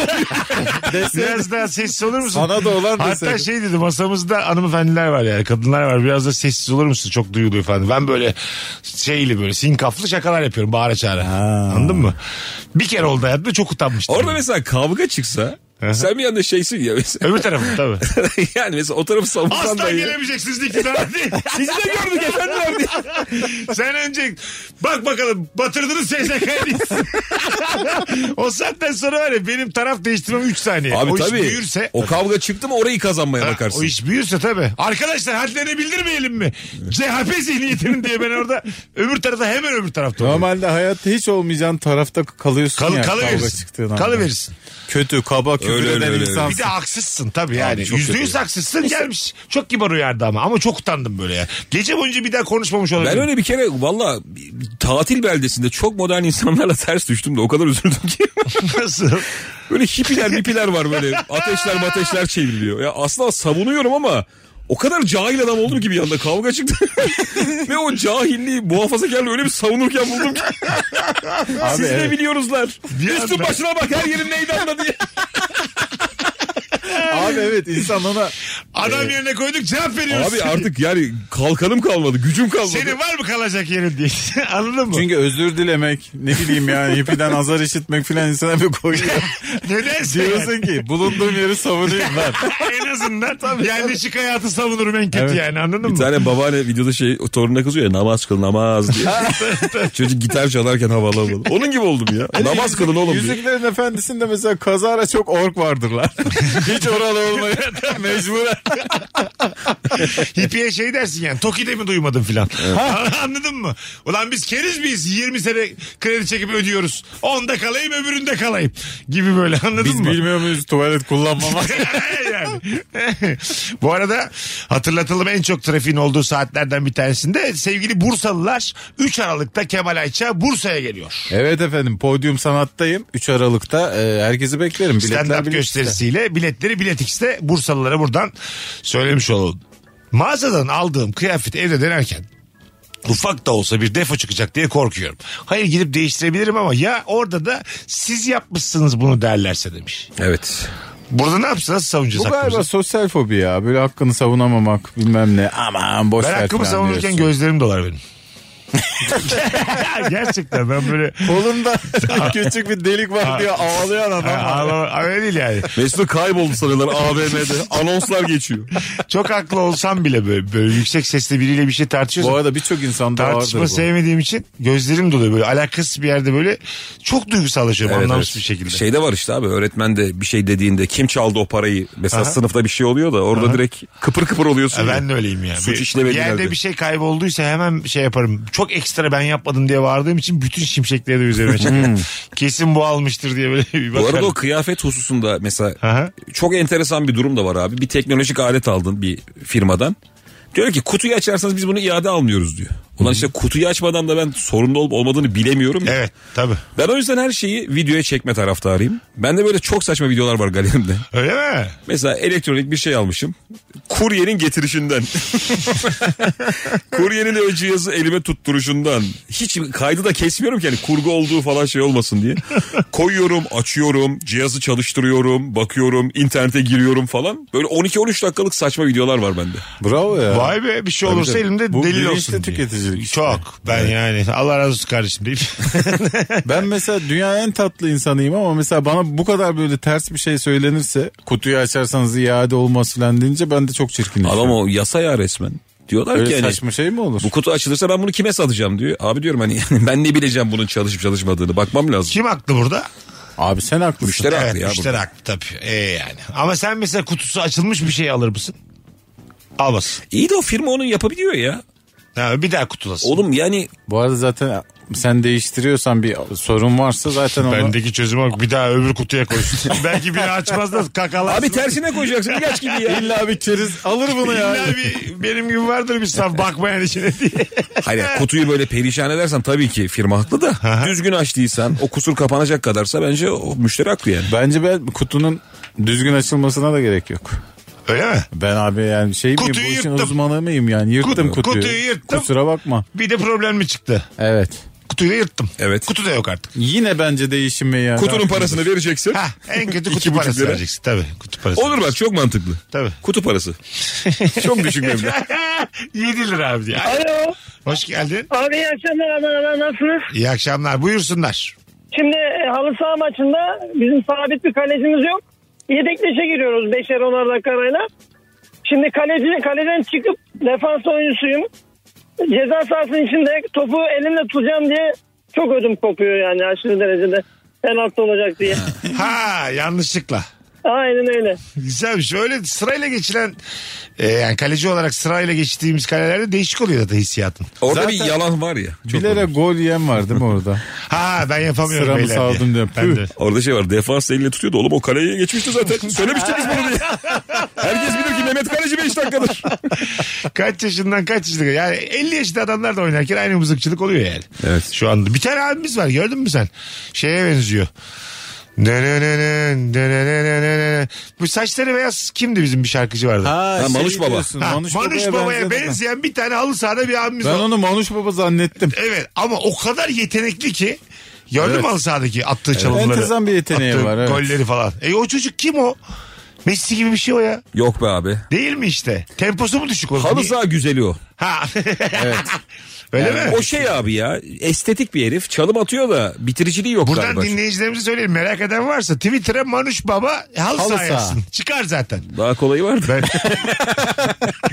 [SPEAKER 2] Biraz daha sessiz olur musun?
[SPEAKER 4] Sana da olan
[SPEAKER 2] Hatta
[SPEAKER 4] deseydin.
[SPEAKER 2] şey dedi masamızda hanımefendiler var yani kadınlar var biraz da sessiz olur musun çok duyuluyor falan. Ben böyle şeyli böyle sinkaflı şakalar yapıyorum bağıra çağıra. Anladın mı? Bir kere oldu hayatımda çok utanmıştım.
[SPEAKER 3] Orada mesela kavga çıksa Sen bir yanda şeysin ya mesela.
[SPEAKER 2] Öbür tarafı tabii.
[SPEAKER 3] yani mesela o tarafı savunsan
[SPEAKER 2] Asla
[SPEAKER 3] da iyi.
[SPEAKER 2] gelemeyeceksiniz iktidara diye.
[SPEAKER 3] Sizi de gördük efendim diye.
[SPEAKER 2] Sen önce bak bakalım batırdınız SSK'yı diyorsun. o saatten sonra var ya benim taraf değiştirmem 3 saniye.
[SPEAKER 3] Abi
[SPEAKER 2] E, o
[SPEAKER 3] tabii.
[SPEAKER 2] iş büyürse...
[SPEAKER 3] O kavga çıktı mı orayı kazanmaya
[SPEAKER 2] Ha,
[SPEAKER 3] bakarsın.
[SPEAKER 2] O iş büyürse tabii. Arkadaşlar hadlerini bildirmeyelim mi? CHP zihniyetinin diye ben orada öbür tarafta hemen öbür tarafta olurum.
[SPEAKER 4] Normalde hayatta hiç olmayacağın tarafta kalıyorsun
[SPEAKER 2] Kal,
[SPEAKER 4] ya. Kavga çıktığın
[SPEAKER 2] kalıverirsin.
[SPEAKER 4] anda.
[SPEAKER 2] Kalıverirsin.
[SPEAKER 4] Kötü, kaba, küfür
[SPEAKER 3] Öyle, öyle,
[SPEAKER 4] eden
[SPEAKER 3] öyle.
[SPEAKER 4] insansın.
[SPEAKER 2] Bir de haksızsın tabii yani.
[SPEAKER 3] çok
[SPEAKER 2] Yüzde yüz
[SPEAKER 3] kötü.
[SPEAKER 2] haksızsın gelmiş. Çok kibar uyardı ama. Ama çok utandım böyle ya. Gece boyunca bir daha konuşmamış olabilirim.
[SPEAKER 3] Ben öyle bir kere valla bir- bir tatil beldesinde çok modern insanlarla ters düştüm de o kadar üzüldüm ki.
[SPEAKER 2] Nasıl?
[SPEAKER 3] böyle hippiler mipiler var böyle ateşler mateşler çevriliyor. Ya aslında savunuyorum ama o kadar cahil adam oldum ki bir anda kavga çıktı. Ve o cahilliği muhafazakarla öyle bir savunurken buldum ki. Siz ne
[SPEAKER 4] evet.
[SPEAKER 3] biliyoruzlar? Üstün
[SPEAKER 2] anda-
[SPEAKER 3] başına bak her yerin meydanda diye.
[SPEAKER 4] Abi evet insan ona
[SPEAKER 2] Adam yerine koyduk cevap veriyoruz.
[SPEAKER 3] Abi artık yani kalkanım kalmadı gücüm kalmadı.
[SPEAKER 2] Senin var mı kalacak yerin diye. Anladın mı?
[SPEAKER 4] çünkü özür dilemek ne bileyim yani hippiden azar işitmek filan insana bir koyuyor.
[SPEAKER 2] Nedense yani.
[SPEAKER 4] Diyorsun ki bulunduğum yeri savunayım lan.
[SPEAKER 2] en azından yerleşik hayatı savunurum en kötü
[SPEAKER 4] Evet.
[SPEAKER 2] yani anladın
[SPEAKER 3] Bir
[SPEAKER 2] mı?
[SPEAKER 3] tane babaanne videoda şey o torununa kızıyor ya namaz kıl namaz diye. Çocuk gitar çalarken havalı havalı. Onun gibi oldum ya. namaz kılın oğlum diye.
[SPEAKER 4] Yüzüklerin Efendisi'nde mesela kazara çok ork vardırlar. Hiç oralı olmaya mecburen.
[SPEAKER 2] Hippie'ye şey dersin yani Toki'de mi duymadın filan. anladın mı? Ulan biz keriz miyiz? 20 sene kredi çekip ödüyoruz. Onda kalayım öbüründe kalayım. Gibi böyle anladın
[SPEAKER 4] Biz
[SPEAKER 2] mı?
[SPEAKER 4] bilmiyor muyuz tuvalet kullanmamak?
[SPEAKER 2] yani. Bu arada hatırlatalım en çok trafiğin olduğu saatlerden bir tanesinde sevgili Bursalılar 3 Aralık'ta Kemal Ayça Bursa'ya geliyor.
[SPEAKER 4] evet efendim podyum sanattayım. 3 Aralık'ta e, herkesi beklerim. Biletler
[SPEAKER 2] Stand-up
[SPEAKER 4] bilet
[SPEAKER 2] gösterisiyle biletleri Bilet X'te Bursalılara buradan söylemiş olalım. Mağazadan aldığım kıyafet evde denerken ufak da olsa bir defo çıkacak diye korkuyorum. Hayır gidip değiştirebilirim ama ya orada da siz yapmışsınız bunu derlerse demiş.
[SPEAKER 3] Evet.
[SPEAKER 2] Burada ne yapsın nasıl savunacağız
[SPEAKER 4] Bu galiba
[SPEAKER 2] hakkımızı?
[SPEAKER 4] sosyal fobi ya. Böyle hakkını savunamamak bilmem ne. Aman boş
[SPEAKER 2] Ben
[SPEAKER 4] ver
[SPEAKER 2] hakkımı
[SPEAKER 4] falan
[SPEAKER 2] savunurken
[SPEAKER 4] diyorsun.
[SPEAKER 2] gözlerim dolar benim. Gerçekten ben böyle
[SPEAKER 4] Kolunda küçük bir delik var diye ağlayan adam. var.
[SPEAKER 2] Ama öyle değil yani.
[SPEAKER 3] Mesut'u kayboldu sanıyorlar AVM'de. Anonslar geçiyor.
[SPEAKER 2] Çok haklı olsam bile böyle, böyle yüksek sesle biriyle bir şey tartışıyorsam
[SPEAKER 4] Bu arada birçok insanda vardır
[SPEAKER 2] tartışma
[SPEAKER 4] bu.
[SPEAKER 2] sevmediğim için gözlerim doluyor böyle alakasız bir yerde böyle çok duygusallaşıyorum anlamsız bir şekilde.
[SPEAKER 3] Şeyde Şey var işte abi öğretmen de bir şey dediğinde kim çaldı o parayı? Mesela sınıfta bir şey oluyor da orada direkt kıpır kıpır oluyorsun.
[SPEAKER 2] Ha,
[SPEAKER 3] ya.
[SPEAKER 2] E ben de öyleyim ya.
[SPEAKER 3] Suç
[SPEAKER 2] Bir-
[SPEAKER 3] işlemeli
[SPEAKER 2] bir yerde
[SPEAKER 3] herhalde.
[SPEAKER 2] bir şey kaybolduysa hemen şey yaparım. Çok ekstra ben yapmadım diye vardığım için bütün şimşekleri de üzerime çekerim. Kesin bu almıştır diye böyle bir
[SPEAKER 3] Hmm. Bu
[SPEAKER 2] bakarım.
[SPEAKER 3] arada o kıyafet hususunda mesela
[SPEAKER 2] Aha.
[SPEAKER 3] çok enteresan bir durum da var abi. Bir teknolojik alet aldın bir firmadan. Diyor ki kutuyu açarsanız biz bunu iade almıyoruz diyor. Ulan işte kutuyu açmadan da ben sorunlu olup olmadığını bilemiyorum. ya.
[SPEAKER 2] Evet tabii.
[SPEAKER 3] Ben o yüzden her şeyi videoya çekme taraftarıyım. Bende böyle çok saçma videolar var galerimde.
[SPEAKER 2] Öyle mi?
[SPEAKER 3] Mesela elektronik bir şey almışım. Kuryenin getirişinden. Kuryenin o cihazı elime tutturuşundan. Hiç kaydı da kesmiyorum ki hani kurgu olduğu falan şey olmasın diye. Koyuyorum, açıyorum, cihazı çalıştırıyorum, bakıyorum, internete giriyorum falan. Böyle 12-13 dakikalık saçma videolar var bende.
[SPEAKER 4] Bravo ya.
[SPEAKER 2] Vay be bir şey
[SPEAKER 4] Tabii
[SPEAKER 2] olursa
[SPEAKER 4] tabii.
[SPEAKER 2] elimde
[SPEAKER 4] Bu
[SPEAKER 2] delil
[SPEAKER 4] bilinçli
[SPEAKER 2] olsun diye.
[SPEAKER 4] tüketicilik işte.
[SPEAKER 2] Çok. Ben yani Allah razı olsun kardeşim deyip.
[SPEAKER 4] Ben mesela dünyanın en tatlı insanıyım ama mesela bana bu kadar böyle ters bir şey söylenirse kutuyu açarsanız iade olmaz filan deyince ben de çok çirkinleşiyorum.
[SPEAKER 3] Adam o yasa ya resmen. Diyorlar
[SPEAKER 4] Öyle
[SPEAKER 3] ki hani,
[SPEAKER 4] saçma şey mi olur?
[SPEAKER 3] bu kutu açılırsa ben bunu kime satacağım diyor. Abi diyorum hani ben ne bileceğim bunun çalışıp çalışmadığını bakmam lazım.
[SPEAKER 2] Kim haklı burada?
[SPEAKER 4] Abi sen haklısın.
[SPEAKER 3] Müşteri haklı
[SPEAKER 2] evet,
[SPEAKER 3] ya
[SPEAKER 2] müşteri
[SPEAKER 3] burada.
[SPEAKER 2] haklı tabii. Ee, yani. Ama sen mesela kutusu açılmış bir şey alır mısın? Almasın.
[SPEAKER 3] İyi de o firma onu yapabiliyor ya.
[SPEAKER 2] Ha, bir daha kutulasın.
[SPEAKER 3] Oğlum yani
[SPEAKER 4] Bu arada zaten sen değiştiriyorsan bir sorun varsa zaten onu...
[SPEAKER 2] Bendeki çözüm yok. Bir daha öbür kutuya koysun. Belki biri açmaz da kakalarsın.
[SPEAKER 3] Abi tersine koyacaksın ilaç gibi ya.
[SPEAKER 4] İlla bir keriz alır bunu ya.
[SPEAKER 2] İlla bir, benim gibi vardır bir saf bakmayan içine diye.
[SPEAKER 3] Hayır yani kutuyu böyle perişan edersen tabii ki firma haklı da düzgün açtıysan o kusur kapanacak kadarsa bence o müşteri haklı yani.
[SPEAKER 4] Bence ben kutunun düzgün açılmasına da gerek yok.
[SPEAKER 2] Öyle mi?
[SPEAKER 4] Ben abi yani şey miyim
[SPEAKER 2] Kutuyu
[SPEAKER 4] bu işin
[SPEAKER 2] yırttım.
[SPEAKER 4] uzmanı mıyım yani yırttım
[SPEAKER 2] Kutu-
[SPEAKER 4] kutuyu.
[SPEAKER 2] kutuyu yırttım.
[SPEAKER 4] Kusura bakma.
[SPEAKER 2] Bir de problem mi çıktı?
[SPEAKER 4] Evet.
[SPEAKER 2] Kutuyu da yırttım.
[SPEAKER 3] Evet.
[SPEAKER 2] Kutu da yok artık.
[SPEAKER 4] Yine bence değişim ya.
[SPEAKER 3] Kutunun parasını vereceksin.
[SPEAKER 2] Ha, en kötü
[SPEAKER 3] İki
[SPEAKER 2] kutu
[SPEAKER 3] buçuk
[SPEAKER 2] parası
[SPEAKER 3] lira.
[SPEAKER 2] vereceksin. Tabii kutu parası.
[SPEAKER 3] Olur bak çok mantıklı.
[SPEAKER 2] Tabii.
[SPEAKER 3] Kutu parası. çok düşük meblağ.
[SPEAKER 2] 7 lira abi diye.
[SPEAKER 8] Alo.
[SPEAKER 2] Hoş geldin.
[SPEAKER 8] Abi iyi akşamlar aman aman nasılsınız?
[SPEAKER 2] İyi akşamlar. Buyursunlar.
[SPEAKER 8] Şimdi e, halı saha maçında bizim sabit bir kalecimiz yok.
[SPEAKER 10] Yedekleşe giriyoruz 5'er 10'ar dakikayla. Şimdi kaleci, kaleden çıkıp defans oyuncusuyum. Ceza sahasının içinde topu elimle tutacağım diye çok ödüm kopuyor yani aşırı derecede. Penaltı olacak diye.
[SPEAKER 2] Ha yanlışlıkla.
[SPEAKER 10] Aynen öyle.
[SPEAKER 2] Güzelmiş. şey. Öyle sırayla geçilen e, yani kaleci olarak sırayla geçtiğimiz kalelerde değişik oluyor zaten hissiyatın.
[SPEAKER 3] Orada
[SPEAKER 4] Zaten-
[SPEAKER 3] bir yalan var ya. Çok
[SPEAKER 4] Bilerek gol yiyen var değil mi orada?
[SPEAKER 2] Ha ben yapamıyorum
[SPEAKER 4] Sıramı
[SPEAKER 2] beyler
[SPEAKER 4] savdum diye.
[SPEAKER 2] Ben de.
[SPEAKER 3] Orada şey var defans eliyle tutuyordu. Oğlum o kaleye geçmişti zaten. Söylemiştik biz bunu diye. Herkes bilir ki Mehmet Kaleci 5 dakikadır.
[SPEAKER 2] Kaç yaşından kaç yaşında yani 50 yaşında adamlar da oynarken aynı mızıkçılık oluyor yani.
[SPEAKER 3] Evet.
[SPEAKER 2] Şu anda bir tane abimiz var gördün mü sen? Şeye benziyor. Dönönönön, dönönönönön. Bu saçları beyaz kimdi bizim bir şarkıcı vardı?
[SPEAKER 4] Ha, şey
[SPEAKER 3] Manuş Baba.
[SPEAKER 4] diyorsun,
[SPEAKER 2] Ha,
[SPEAKER 4] Manuş, Baba'ya, benzedim.
[SPEAKER 2] benzeyen bir tane halı sahada bir abimiz
[SPEAKER 4] Ben
[SPEAKER 2] var.
[SPEAKER 4] onu Manuş Baba zannettim.
[SPEAKER 2] Evet ama o kadar yetenekli ki gördün
[SPEAKER 4] Evet.
[SPEAKER 2] mü halı sahadaki attığı çalımları.
[SPEAKER 4] Enteresan bir yeteneği
[SPEAKER 2] attığı
[SPEAKER 4] var, evet.
[SPEAKER 2] Golleri falan. E o çocuk kim o? Messi gibi bir şey o ya.
[SPEAKER 3] Yok be abi.
[SPEAKER 2] Değil mi işte? Temposu mu düşük o?
[SPEAKER 3] Halı saha güzeli o.
[SPEAKER 2] Ha. Öyle mi?
[SPEAKER 3] O şey abi ya estetik bir herif. Çalım atıyor da bitiriciliği yok
[SPEAKER 2] Buradan
[SPEAKER 3] galiba.
[SPEAKER 2] dinleyicilerimize söyleyeyim. Merak eden varsa Twitter'a Manuş Baba halı
[SPEAKER 4] Halı
[SPEAKER 2] saha
[SPEAKER 4] saha.
[SPEAKER 2] yazsın. Çıkar zaten.
[SPEAKER 3] Daha kolayı vardı.
[SPEAKER 2] Ben...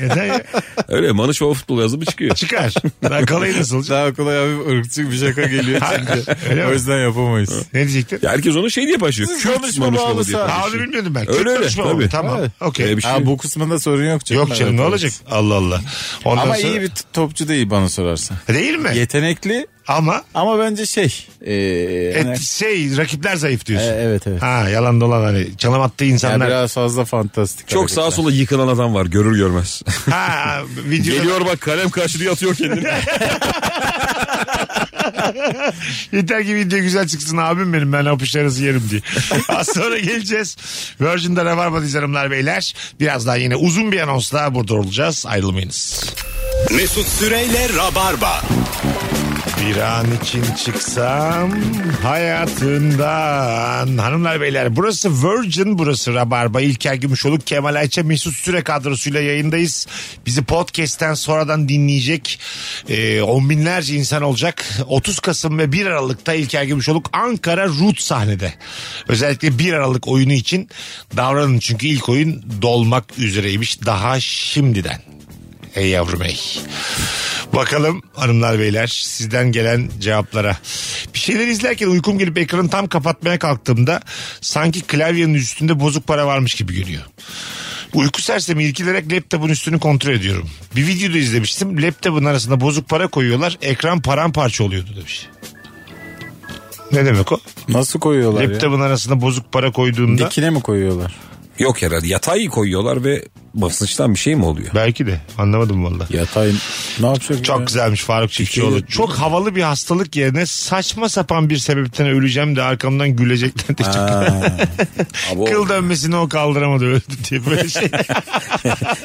[SPEAKER 2] Neden ya?
[SPEAKER 3] Öyle Manuş Baba futbol yazımı çıkıyor.
[SPEAKER 2] Çıkar. Ben kalayı nasıl olacak?
[SPEAKER 4] Daha kolay abi ırkçı bir şaka geliyor şimdi.
[SPEAKER 2] Öyle mi?
[SPEAKER 4] o yüzden yapamayız.
[SPEAKER 2] Ne diyecektin?
[SPEAKER 3] Ya herkes onu şey diye başlıyor.
[SPEAKER 4] Siz
[SPEAKER 3] Kürt
[SPEAKER 4] Manuş
[SPEAKER 3] Manuş
[SPEAKER 4] Baba halı
[SPEAKER 3] Baba diye.
[SPEAKER 4] saha.
[SPEAKER 2] Ha
[SPEAKER 3] başlıyor.
[SPEAKER 2] onu bilmiyordum ben.
[SPEAKER 3] Öyle
[SPEAKER 2] Kürt
[SPEAKER 3] öyle,
[SPEAKER 2] konuşma oldu.
[SPEAKER 3] tabii.
[SPEAKER 2] Tamam. Okey.
[SPEAKER 3] Öyle bir şey.
[SPEAKER 4] Ha, bu kısmında sorun yok canım.
[SPEAKER 2] Yok canım ne
[SPEAKER 4] Evet,
[SPEAKER 2] olacak? Allah Allah. Ondan
[SPEAKER 4] Ama
[SPEAKER 2] sonra-
[SPEAKER 4] iyi bir t- topçu değil bana sorarsan.
[SPEAKER 2] Değil mi?
[SPEAKER 4] Yetenekli
[SPEAKER 2] Ama
[SPEAKER 4] ama bence şey. ee,
[SPEAKER 2] et-
[SPEAKER 4] hani-
[SPEAKER 2] şey rakipler zayıf
[SPEAKER 4] E,
[SPEAKER 2] diyorsun.
[SPEAKER 4] evet evet.
[SPEAKER 2] Ha yalan dolan hani çalım attığı
[SPEAKER 4] Yani
[SPEAKER 2] insanlar.
[SPEAKER 4] biraz fazla fantastik.
[SPEAKER 3] Çok sağa
[SPEAKER 4] hareketler.
[SPEAKER 3] sola yıkılan adam var görür görmez.
[SPEAKER 2] Ha video
[SPEAKER 3] Geliyor bak kalem karşılığı atıyor kendini.
[SPEAKER 2] Yeter ki video güzel çıksın abim benim ben apış arası yerim diye. Az sonra geleceğiz. Virgin'de Rabarba'dayız hanımlar beyler. Birazdan yine uzun bir anonsla burada olacağız. Ayrılmayınız.
[SPEAKER 1] Mesut Süreyle Rabarba.
[SPEAKER 2] Bir an için çıksam hayatından. Hanımlar beyler burası Virgin burası Rabarba. İlker Gümüşoluk, Kemal Ayça, Mesut Süre kadrosuyla yayındayız. Bizi podcast'ten sonradan dinleyecek e, on binlerce insan olacak. 30 Kasım ve 1 Aralık'ta İlker Gümüşoluk Ankara Root sahnede. Özellikle 1 Aralık oyunu için davranın çünkü ilk oyun dolmak üzereymiş daha şimdiden. Ey yavrum ey. Bakalım hanımlar beyler sizden gelen cevaplara. Bir şeyler izlerken uykum gelip ekranı tam kapatmaya kalktığımda sanki klavyenin üstünde bozuk para varmış gibi geliyor. Uyku sersemi irkilerek laptopun üstünü kontrol ediyorum. Bir videoda izlemiştim. Laptopun arasında bozuk para koyuyorlar. Ekran paramparça oluyordu demiş. Ne demek o?
[SPEAKER 4] Nasıl koyuyorlar ya?
[SPEAKER 2] Laptopun arasına bozuk para koyduğunda
[SPEAKER 4] Dikine mi koyuyorlar?
[SPEAKER 3] Yok herhalde yatay koyuyorlar ve basınçtan bir şey mi oluyor?
[SPEAKER 2] belki de anlamadım valla.
[SPEAKER 4] Yatay ne yapacak?
[SPEAKER 2] Çok
[SPEAKER 4] ya?
[SPEAKER 2] güzelmiş Faruk Çiftçioğlu. Çok havalı bir hastalık yerine saçma sapan bir sebepten öleceğim de arkamdan gülecekler de çok.
[SPEAKER 3] Abi o
[SPEAKER 2] Kıl dönmesini o kaldıramadı öldü diye böyle şey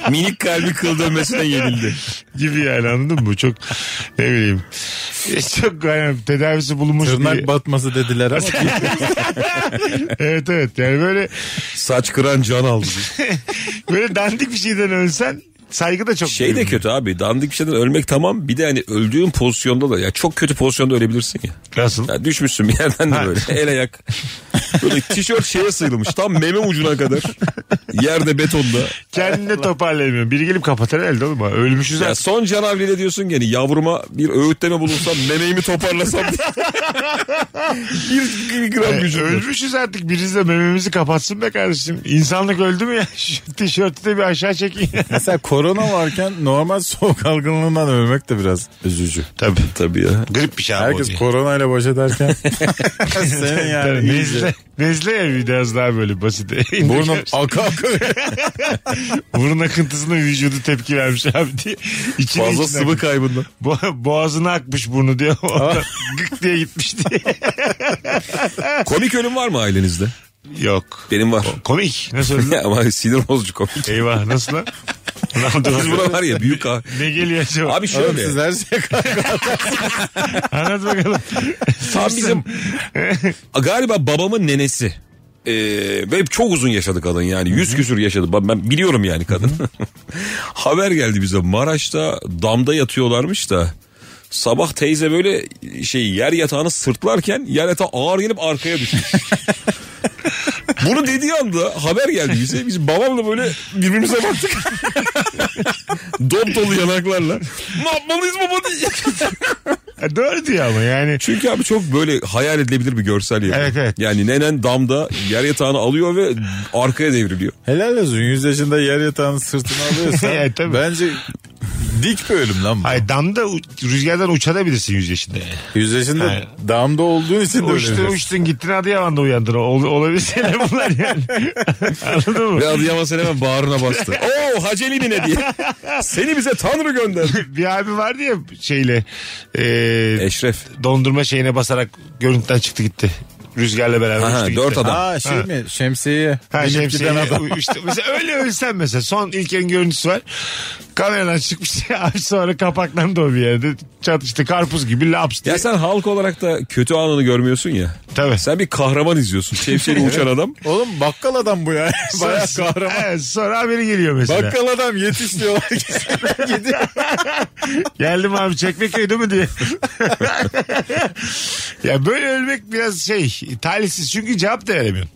[SPEAKER 3] minik kalbi kıl dönmesine yenildi.
[SPEAKER 2] gibi yani anladın mı? Çok ne bileyim. E, Çok yani tedavisi bulunmuş diye.
[SPEAKER 4] Tırnak batması dediler ama
[SPEAKER 2] evet evet yani böyle
[SPEAKER 3] Saç kıran can aldı.
[SPEAKER 2] böyle dandik bir şeyden ölsen saygı da çok
[SPEAKER 3] Şey de
[SPEAKER 2] duyulmuyor.
[SPEAKER 3] kötü abi dandik bir şeyden ölmek tamam bir de hani öldüğün pozisyonda da ya çok kötü pozisyonda ölebilirsin ya.
[SPEAKER 2] Nasıl?
[SPEAKER 3] Ya düşmüşsün bir yerden de böyle el ayak. Böyle tişört şeye sıyrılmış tam meme ucuna kadar. Yerde betonda.
[SPEAKER 2] Kendini toparlayamıyor. Biri gelip kapatır elde oğlum. ha. Ölmüşüz
[SPEAKER 3] Ya
[SPEAKER 2] artık.
[SPEAKER 3] son canavliyle diyorsun gene yavruma bir öğütleme bulunsam memeğimi toparlasam diye. bir gram
[SPEAKER 2] E,
[SPEAKER 3] gücüm yok.
[SPEAKER 2] ölmüşüz artık. Birisi de mememizi kapatsın be kardeşim. İnsanlık öldü mü ya? Şu tişörtü de bir aşağı çekin.
[SPEAKER 4] mesela korona varken normal soğuk algınlığından ölmek de biraz üzücü.
[SPEAKER 2] Tabii.
[SPEAKER 3] Tabii ya.
[SPEAKER 2] Grip bir şey abi o
[SPEAKER 4] Herkes
[SPEAKER 2] diye.
[SPEAKER 4] koronayla baş ederken senin yani
[SPEAKER 2] Tabii,
[SPEAKER 4] iyice.
[SPEAKER 2] nezle, nezle ya biraz daha böyle basit.
[SPEAKER 4] Burnun akı akı.
[SPEAKER 2] Burun akıntısına vücudu tepki vermiş abi diye. İçine
[SPEAKER 3] Fazla
[SPEAKER 2] içine
[SPEAKER 3] sıvı kaybından.
[SPEAKER 2] akmış. Bo- boğazına akmış burnu diye. Ondan Gık diye gitmiş diye.
[SPEAKER 3] Komik ölüm var mı ailenizde?
[SPEAKER 2] Yok.
[SPEAKER 3] Benim var.
[SPEAKER 2] Komik. Nasıl öldü?
[SPEAKER 3] Ya Ama sinir bozucu komik.
[SPEAKER 2] Eyvah nasıl lan? Ne oldu?
[SPEAKER 3] Biz buna var ya büyük ha.
[SPEAKER 2] Ne geliyor acaba?
[SPEAKER 3] Abi
[SPEAKER 4] Oğlum
[SPEAKER 3] şöyle.
[SPEAKER 4] siz her şeye
[SPEAKER 2] Anlat bakalım.
[SPEAKER 3] Tam bizim galiba babamın nenesi. Ee, ve çok uzun yaşadı kadın yani yüz küsür yaşadı Ba- ben biliyorum yani kadın haber geldi bize Maraş'ta damda yatıyorlarmış da sabah teyze böyle şey yer yatağını sırtlarken yer yatağı ağır gelip arkaya düşmüş Bunu dediği anda haber geldi bize. Biz babamla böyle birbirimize baktık. Dop dolu yanaklarla. Ne yapmalıyız baba diye.
[SPEAKER 2] E, Doğru diyor ama yani.
[SPEAKER 3] Çünkü abi çok böyle hayal edilebilir bir görsel yani.
[SPEAKER 2] Evet, evet.
[SPEAKER 3] Yani nenen damda yer yatağını alıyor ve arkaya devriliyor.
[SPEAKER 4] Helal olsun 100 yaşında yer yatağını sırtına alıyorsan
[SPEAKER 2] Evet, tabii.
[SPEAKER 4] bence dik bir ölüm lan bu.
[SPEAKER 2] Ay damda u- rüzgardan uçabilirsin 100 yaşında yani.
[SPEAKER 3] Ee,
[SPEAKER 4] 100 yaşında
[SPEAKER 2] Hayır.
[SPEAKER 4] damda olduğun için de
[SPEAKER 2] Uçtun
[SPEAKER 4] ölüyorsun.
[SPEAKER 2] uçtun gittin Adıyaman'da uyandın. Ol, olabilir şeyler bunlar yani. Anladın mı?
[SPEAKER 3] Ve Adıyaman sen hemen bağrına bastı. Oo Hacelini ne diye. Seni bize Tanrı gönderdi.
[SPEAKER 2] Bir abi vardı ya şeyle e,
[SPEAKER 3] Eşref.
[SPEAKER 2] dondurma şeyine basarak görüntüden çıktı gitti. Rüzgarla beraber
[SPEAKER 3] Aha,
[SPEAKER 2] uçtu gitti.
[SPEAKER 3] dört adam.
[SPEAKER 4] Aa şey
[SPEAKER 2] Ha.
[SPEAKER 4] mi? Şemsiye.
[SPEAKER 2] Ha,
[SPEAKER 4] Binip
[SPEAKER 2] şemsiye,
[SPEAKER 4] giden adam.
[SPEAKER 2] işte mesela öyle ölsen mesela son İlker'in görüntüsü var. Kameradan çıkmış abi sonra kapaklandı o bir yerde. Çatıştı karpuz gibi laps diye.
[SPEAKER 3] Ya sen halk olarak da kötü anını görmüyorsun ya.
[SPEAKER 2] Tabii.
[SPEAKER 3] Sen bir kahraman izliyorsun. Şemsiyeli uçan adam.
[SPEAKER 4] Oğlum bakkal adam bu ya. Bayağı
[SPEAKER 2] Sonra-
[SPEAKER 4] kahraman.
[SPEAKER 2] Evet, sonra haberi geliyor mesela.
[SPEAKER 4] Bakkal adam yetiş diyorlar.
[SPEAKER 2] Geldim abi Çekmeköy'de mi diye. ya böyle ölmek biraz şey talihsiz çünkü cevap da veremiyorsun.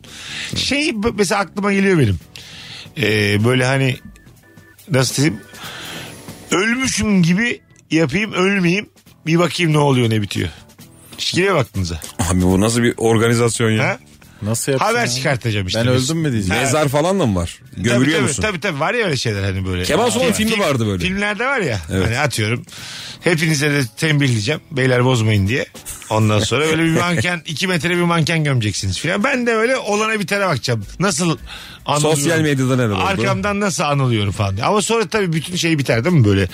[SPEAKER 2] Şey b- mesela aklıma geliyor benim. Ee, böyle hani nasıl diyeyim ölmüşüm gibi yapayım ölmeyeyim bir bakayım ne oluyor ne bitiyor. Hiç geliyor mu aklınıza.
[SPEAKER 3] Abi bu nasıl bir organizasyon ya?
[SPEAKER 2] Ha?
[SPEAKER 4] Nasıl yapsın?
[SPEAKER 2] Haber
[SPEAKER 4] ya?
[SPEAKER 2] çıkartacağım işte.
[SPEAKER 4] Ben
[SPEAKER 2] biz.
[SPEAKER 4] öldüm mü diyeceğim.
[SPEAKER 3] Mezar falan da mı var?
[SPEAKER 2] Tabii,
[SPEAKER 3] Gömülüyor
[SPEAKER 2] tabii,
[SPEAKER 3] musun?
[SPEAKER 2] Tabii tabii var ya öyle şeyler hani böyle.
[SPEAKER 3] Kemal Sunal'ın filmi vardı böyle.
[SPEAKER 2] Filmlerde var ya.
[SPEAKER 3] Evet.
[SPEAKER 2] Hani atıyorum. Hepinize de tembihleyeceğim. Beyler bozmayın diye. Ondan sonra böyle bir manken, iki metre bir manken gömeceksiniz filan. Ben de öyle olana bitene bakacağım. Nasıl anılıyorum?
[SPEAKER 3] Sosyal medyadan herhalde.
[SPEAKER 2] Arkamdan nasıl anılıyorum falan. diye. Ama sonra tabii bütün şey biter değil mi böyle?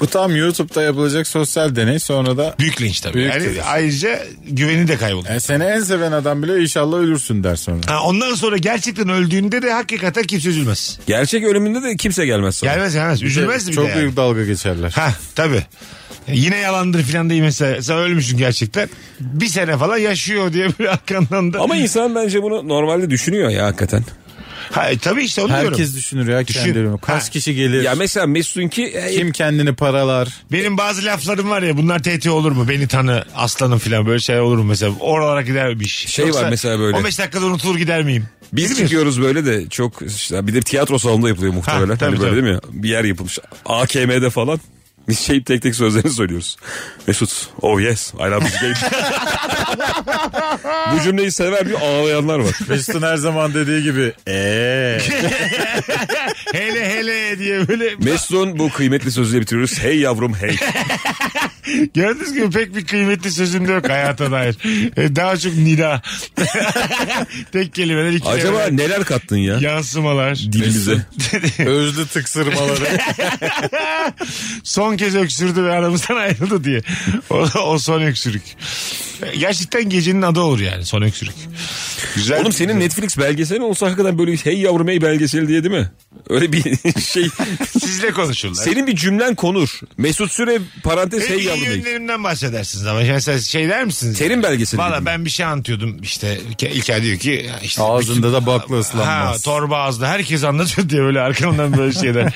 [SPEAKER 4] Bu tam YouTube'da yapılacak sosyal deney sonra da
[SPEAKER 2] Büyük linç tabii.
[SPEAKER 4] Büyük
[SPEAKER 2] yani
[SPEAKER 4] linç.
[SPEAKER 2] ayrıca güveni de kaybolur.
[SPEAKER 4] yani E, seni en seven adam bile inşallah ölürsün der sonra.
[SPEAKER 2] Ha, ondan sonra gerçekten öldüğünde de hakikaten kimse üzülmez.
[SPEAKER 3] Gerçek ölümünde de kimse gelmez sana.
[SPEAKER 2] Gelmez gelmez. Üzülmez bir de
[SPEAKER 4] Çok
[SPEAKER 2] yani.
[SPEAKER 4] büyük dalga geçerler.
[SPEAKER 2] Ha tabii. E, Yine yalandır filan değil mesela. Sen ölmüşsün gerçekten. Bir sene falan yaşıyor diye bir arkandan da.
[SPEAKER 3] Ama insan bence bunu normalde düşünüyor ya hakikaten.
[SPEAKER 2] ha, e, tabii işte onu diyorum.
[SPEAKER 4] Herkes düşünür ya
[SPEAKER 2] Düşün.
[SPEAKER 4] kendilerini. Kaç
[SPEAKER 2] Ha.
[SPEAKER 4] kişi gelir?
[SPEAKER 3] Ya mesela Mesut'unki e,
[SPEAKER 4] kim kendini paralar?
[SPEAKER 2] Benim bazı laflarım var ya bunlar tehdit olur mu? Beni tanı aslanım filan böyle şeyler olur mu mesela? Oralara gider bir iş.
[SPEAKER 3] Şey var mesela böyle.
[SPEAKER 2] 15 dakikada unutulur gider miyim?
[SPEAKER 3] biz çıkıyoruz böyle de çok işte bir de tiyatro salonunda yapılıyor muhtemelen.
[SPEAKER 2] Ha, tabii,
[SPEAKER 3] hani böyle
[SPEAKER 2] tabii.
[SPEAKER 3] değil mi? Bir yer yapılmış. AKM'de falan. Biz şey tek tek sözlerini söylüyoruz. Mesut, oh yes, I love this game. Bu cümleyi sever bir ağlayanlar var.
[SPEAKER 4] Mesut'un her zaman dediği gibi eee
[SPEAKER 2] Hele hele diye böyle.
[SPEAKER 3] Mesut'un bu kıymetli sözüyle bitiriyoruz. Hey yavrum hey.
[SPEAKER 2] Gördüğünüz gibi pek bir kıymetli sözüm de yok hayata dair. E, Daha çok nida. Tek kelimeler iki
[SPEAKER 3] Acaba
[SPEAKER 2] kelimeler.
[SPEAKER 3] neler kattın ya?
[SPEAKER 2] Yansımalar.
[SPEAKER 3] dilimize.
[SPEAKER 4] özlü tıksırmaları.
[SPEAKER 2] son kez öksürdü ve aramızdan ayrıldı diye. O, o son öksürük. Gerçekten gecenin adı olur yani son öksürük. Güzel.
[SPEAKER 3] Oğlum senin Netflix belgeselin olsa hakikaten böyle hey yavrum hey belgeseli diye değil mi? Öyle bir şey.
[SPEAKER 2] Sizle konuşurlar.
[SPEAKER 3] Senin bir cümlen konur. Mesut Süre parantez
[SPEAKER 2] Hep
[SPEAKER 3] şey hey
[SPEAKER 2] iyi
[SPEAKER 3] yavrum hey.
[SPEAKER 2] yönlerimden bahsedersiniz ama mesela şey der misiniz?
[SPEAKER 3] Terim belgeseli.
[SPEAKER 2] Valla
[SPEAKER 3] gibi.
[SPEAKER 2] ben bir şey anlatıyordum işte İlker diyor ki ya işte
[SPEAKER 4] Ağzında da bakla
[SPEAKER 2] Ha,
[SPEAKER 4] ıslanmaz.
[SPEAKER 2] torba ağızlı herkes anlatıyor diye böyle arkamdan böyle şeyler.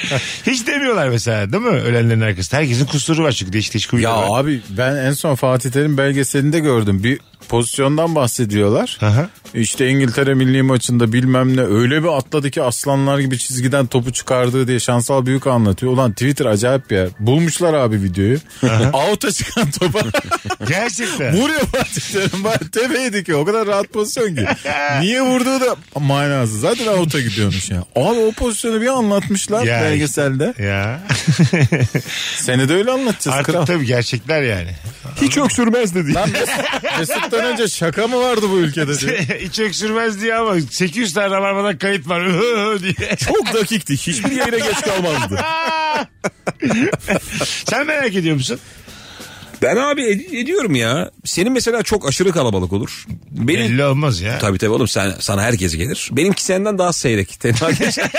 [SPEAKER 2] hiç demiyorlar mesela değil mi ölenlerin arkasında? Herkesin kusuru var çünkü değişik değişik
[SPEAKER 4] ya
[SPEAKER 2] huyları var.
[SPEAKER 4] abi ben en son Fatih Terim belgeselinde gördüm. Bir pozisyondan bahsediyorlar.
[SPEAKER 2] Aha.
[SPEAKER 4] İşte İngiltere milli maçında bilmem ne öyle bir atladı ki aslanlar gibi çizgiden topu çıkardığı diye şansal büyük anlatıyor. Ulan Twitter acayip bir yer. Bulmuşlar abi videoyu. Out'a çıkan topa
[SPEAKER 2] Gerçekten.
[SPEAKER 4] vuruyor Fatih Terim. Bari Tepeydi ki o kadar rahat pozisyon ki. Niye vurduğu da manasız. Zaten out'a gidiyormuş ya. Abi o pozisyonu bir anlatmışlar
[SPEAKER 2] Ya
[SPEAKER 4] belgeselde.
[SPEAKER 2] ya.
[SPEAKER 4] Seni de öyle anlatacağız kral.
[SPEAKER 2] Artık tabii gerçekler yani.
[SPEAKER 3] hiç öksürmez dedi.
[SPEAKER 4] Lan Mes- Mesut'tan önce şaka mı vardı bu ülkede? diye.
[SPEAKER 2] Hiç öksürmez diye ama 800 tane rabarmadan kayıt var diye.
[SPEAKER 3] Çok dakikti. Hiçbir yayına geç kalmazdı.
[SPEAKER 2] Sen merak ediyor musun?
[SPEAKER 3] Ben abi ed- ediyorum ya. Senin mesela çok aşırı kalabalık olur. Benim
[SPEAKER 2] Belli olmaz ya.
[SPEAKER 3] Tabii tabii oğlum sen, sana herkes gelir. Benimki senden daha seyrek. Tenha geçer.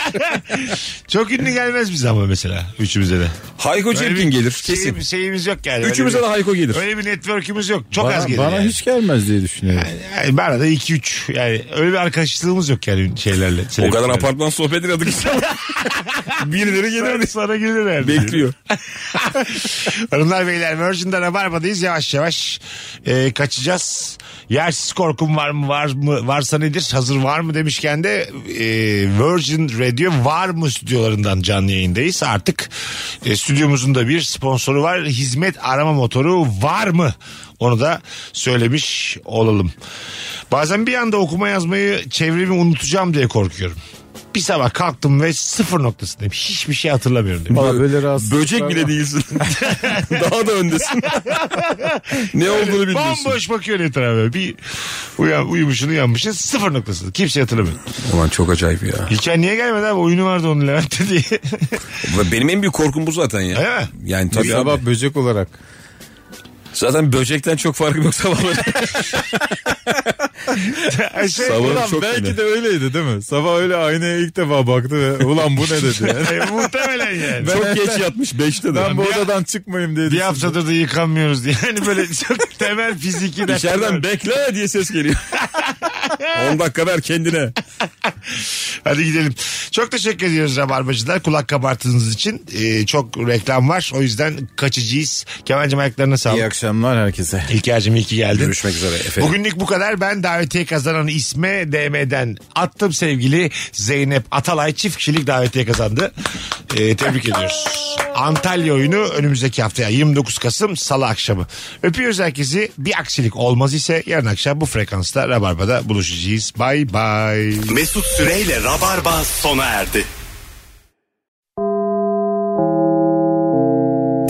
[SPEAKER 2] Çok ünlü gelmez bize ama mesela üçümüze de.
[SPEAKER 3] Hayko
[SPEAKER 2] Öyle
[SPEAKER 3] Cepkin
[SPEAKER 2] bir
[SPEAKER 3] gelir
[SPEAKER 2] şey-
[SPEAKER 3] kesin.
[SPEAKER 2] şeyimiz yok yani.
[SPEAKER 3] Üçümüze de
[SPEAKER 2] öyle
[SPEAKER 3] Hayko
[SPEAKER 2] bir,
[SPEAKER 3] gelir.
[SPEAKER 2] öyle bir network'ümüz yok. Çok az
[SPEAKER 4] Bana,
[SPEAKER 2] gelir.
[SPEAKER 4] bana
[SPEAKER 2] yani.
[SPEAKER 4] hiç gelmez diye düşünüyorum.
[SPEAKER 2] Yani bana da 2-3 yani öyle bir arkadaşlığımız yok yani şeylerle.
[SPEAKER 3] O kadar
[SPEAKER 2] Sebeplerle.
[SPEAKER 3] apartman sohbet ediyorduk işte. Birileri gelir
[SPEAKER 2] Sonra gelir herhalde.
[SPEAKER 3] bekliyor.
[SPEAKER 2] Hanımlar beyler Virgin'de Rabarba'dayız yavaş yavaş e, kaçacağız. Yersiz korkum var mı var mı varsa nedir hazır var mı demişken de e, Virgin Radio var mı stüdyolarından canlı yayındayız. Artık e, stüdyomuzun da bir sponsoru var hizmet arama motoru var mı onu da söylemiş olalım. Bazen bir anda okuma yazmayı çevremi unutacağım diye korkuyorum. Bir sabah kalktım ve sıfır noktasındayım. Hiçbir şey hatırlamıyorum demiş.
[SPEAKER 4] Valla böyle rahatsızlıklar
[SPEAKER 3] Böcek bile
[SPEAKER 4] var.
[SPEAKER 3] değilsin. Daha da öndesin. ne olduğunu bilmiyorsun.
[SPEAKER 2] Bomboş bakıyor etrafa. Bir uyan, uyumuşsun uyanmışsın sıfır noktasında. Kimse hatırlamıyor.
[SPEAKER 3] Ulan çok acayip ya.
[SPEAKER 2] Hikaye niye gelmedi abi? Oyunu vardı onun Levent'te diye.
[SPEAKER 3] Benim en büyük korkum bu zaten ya.
[SPEAKER 2] Değil mi?
[SPEAKER 3] Yani
[SPEAKER 4] Bir
[SPEAKER 3] tabii
[SPEAKER 4] sabah
[SPEAKER 3] abi.
[SPEAKER 4] böcek olarak.
[SPEAKER 3] Zaten böcekten çok farkım yok sabahları.
[SPEAKER 2] Her şey,
[SPEAKER 3] Sabah-
[SPEAKER 4] Ulan
[SPEAKER 3] çok
[SPEAKER 4] belki
[SPEAKER 3] fena.
[SPEAKER 4] de öyleydi değil mi? Sabah öyle aynaya ilk defa baktı ve ulan bu ne dedi. Yani.
[SPEAKER 2] E, muhtemelen yani.
[SPEAKER 3] çok geç yatmış 5'te de.
[SPEAKER 4] ben bu odadan çıkmayayım dedi.
[SPEAKER 2] bir haftadır da yıkanmıyoruz diye. Yani böyle çok temel fiziki dertler var.
[SPEAKER 3] İçeriden bekle diye ses geliyor. 10 dakika ver kendine.
[SPEAKER 2] Hadi gidelim. Çok teşekkür ediyoruz Rabarbacılar. Kulak kabarttığınız için. Ee, çok reklam var. O yüzden kaçıcıyız. Kemal'cim ayaklarına
[SPEAKER 4] İyi
[SPEAKER 2] sağlık.
[SPEAKER 4] akşamlar herkese.
[SPEAKER 2] İlker'cim iyi ki geldin.
[SPEAKER 3] Görüşmek üzere efendim.
[SPEAKER 2] Bugünlük bu kadar. Ben davetiye kazanan isme DM'den attım sevgili Zeynep Atalay çift kişilik davetiye kazandı. Ee, tebrik ediyoruz. Antalya oyunu önümüzdeki haftaya 29 Kasım Salı akşamı. Öpüyoruz herkesi. Bir aksilik olmaz ise yarın akşam bu frekansta Rabarba'da buluşacağız. Bay bay.
[SPEAKER 1] Mesut Süreyle Rabarba sona erdi.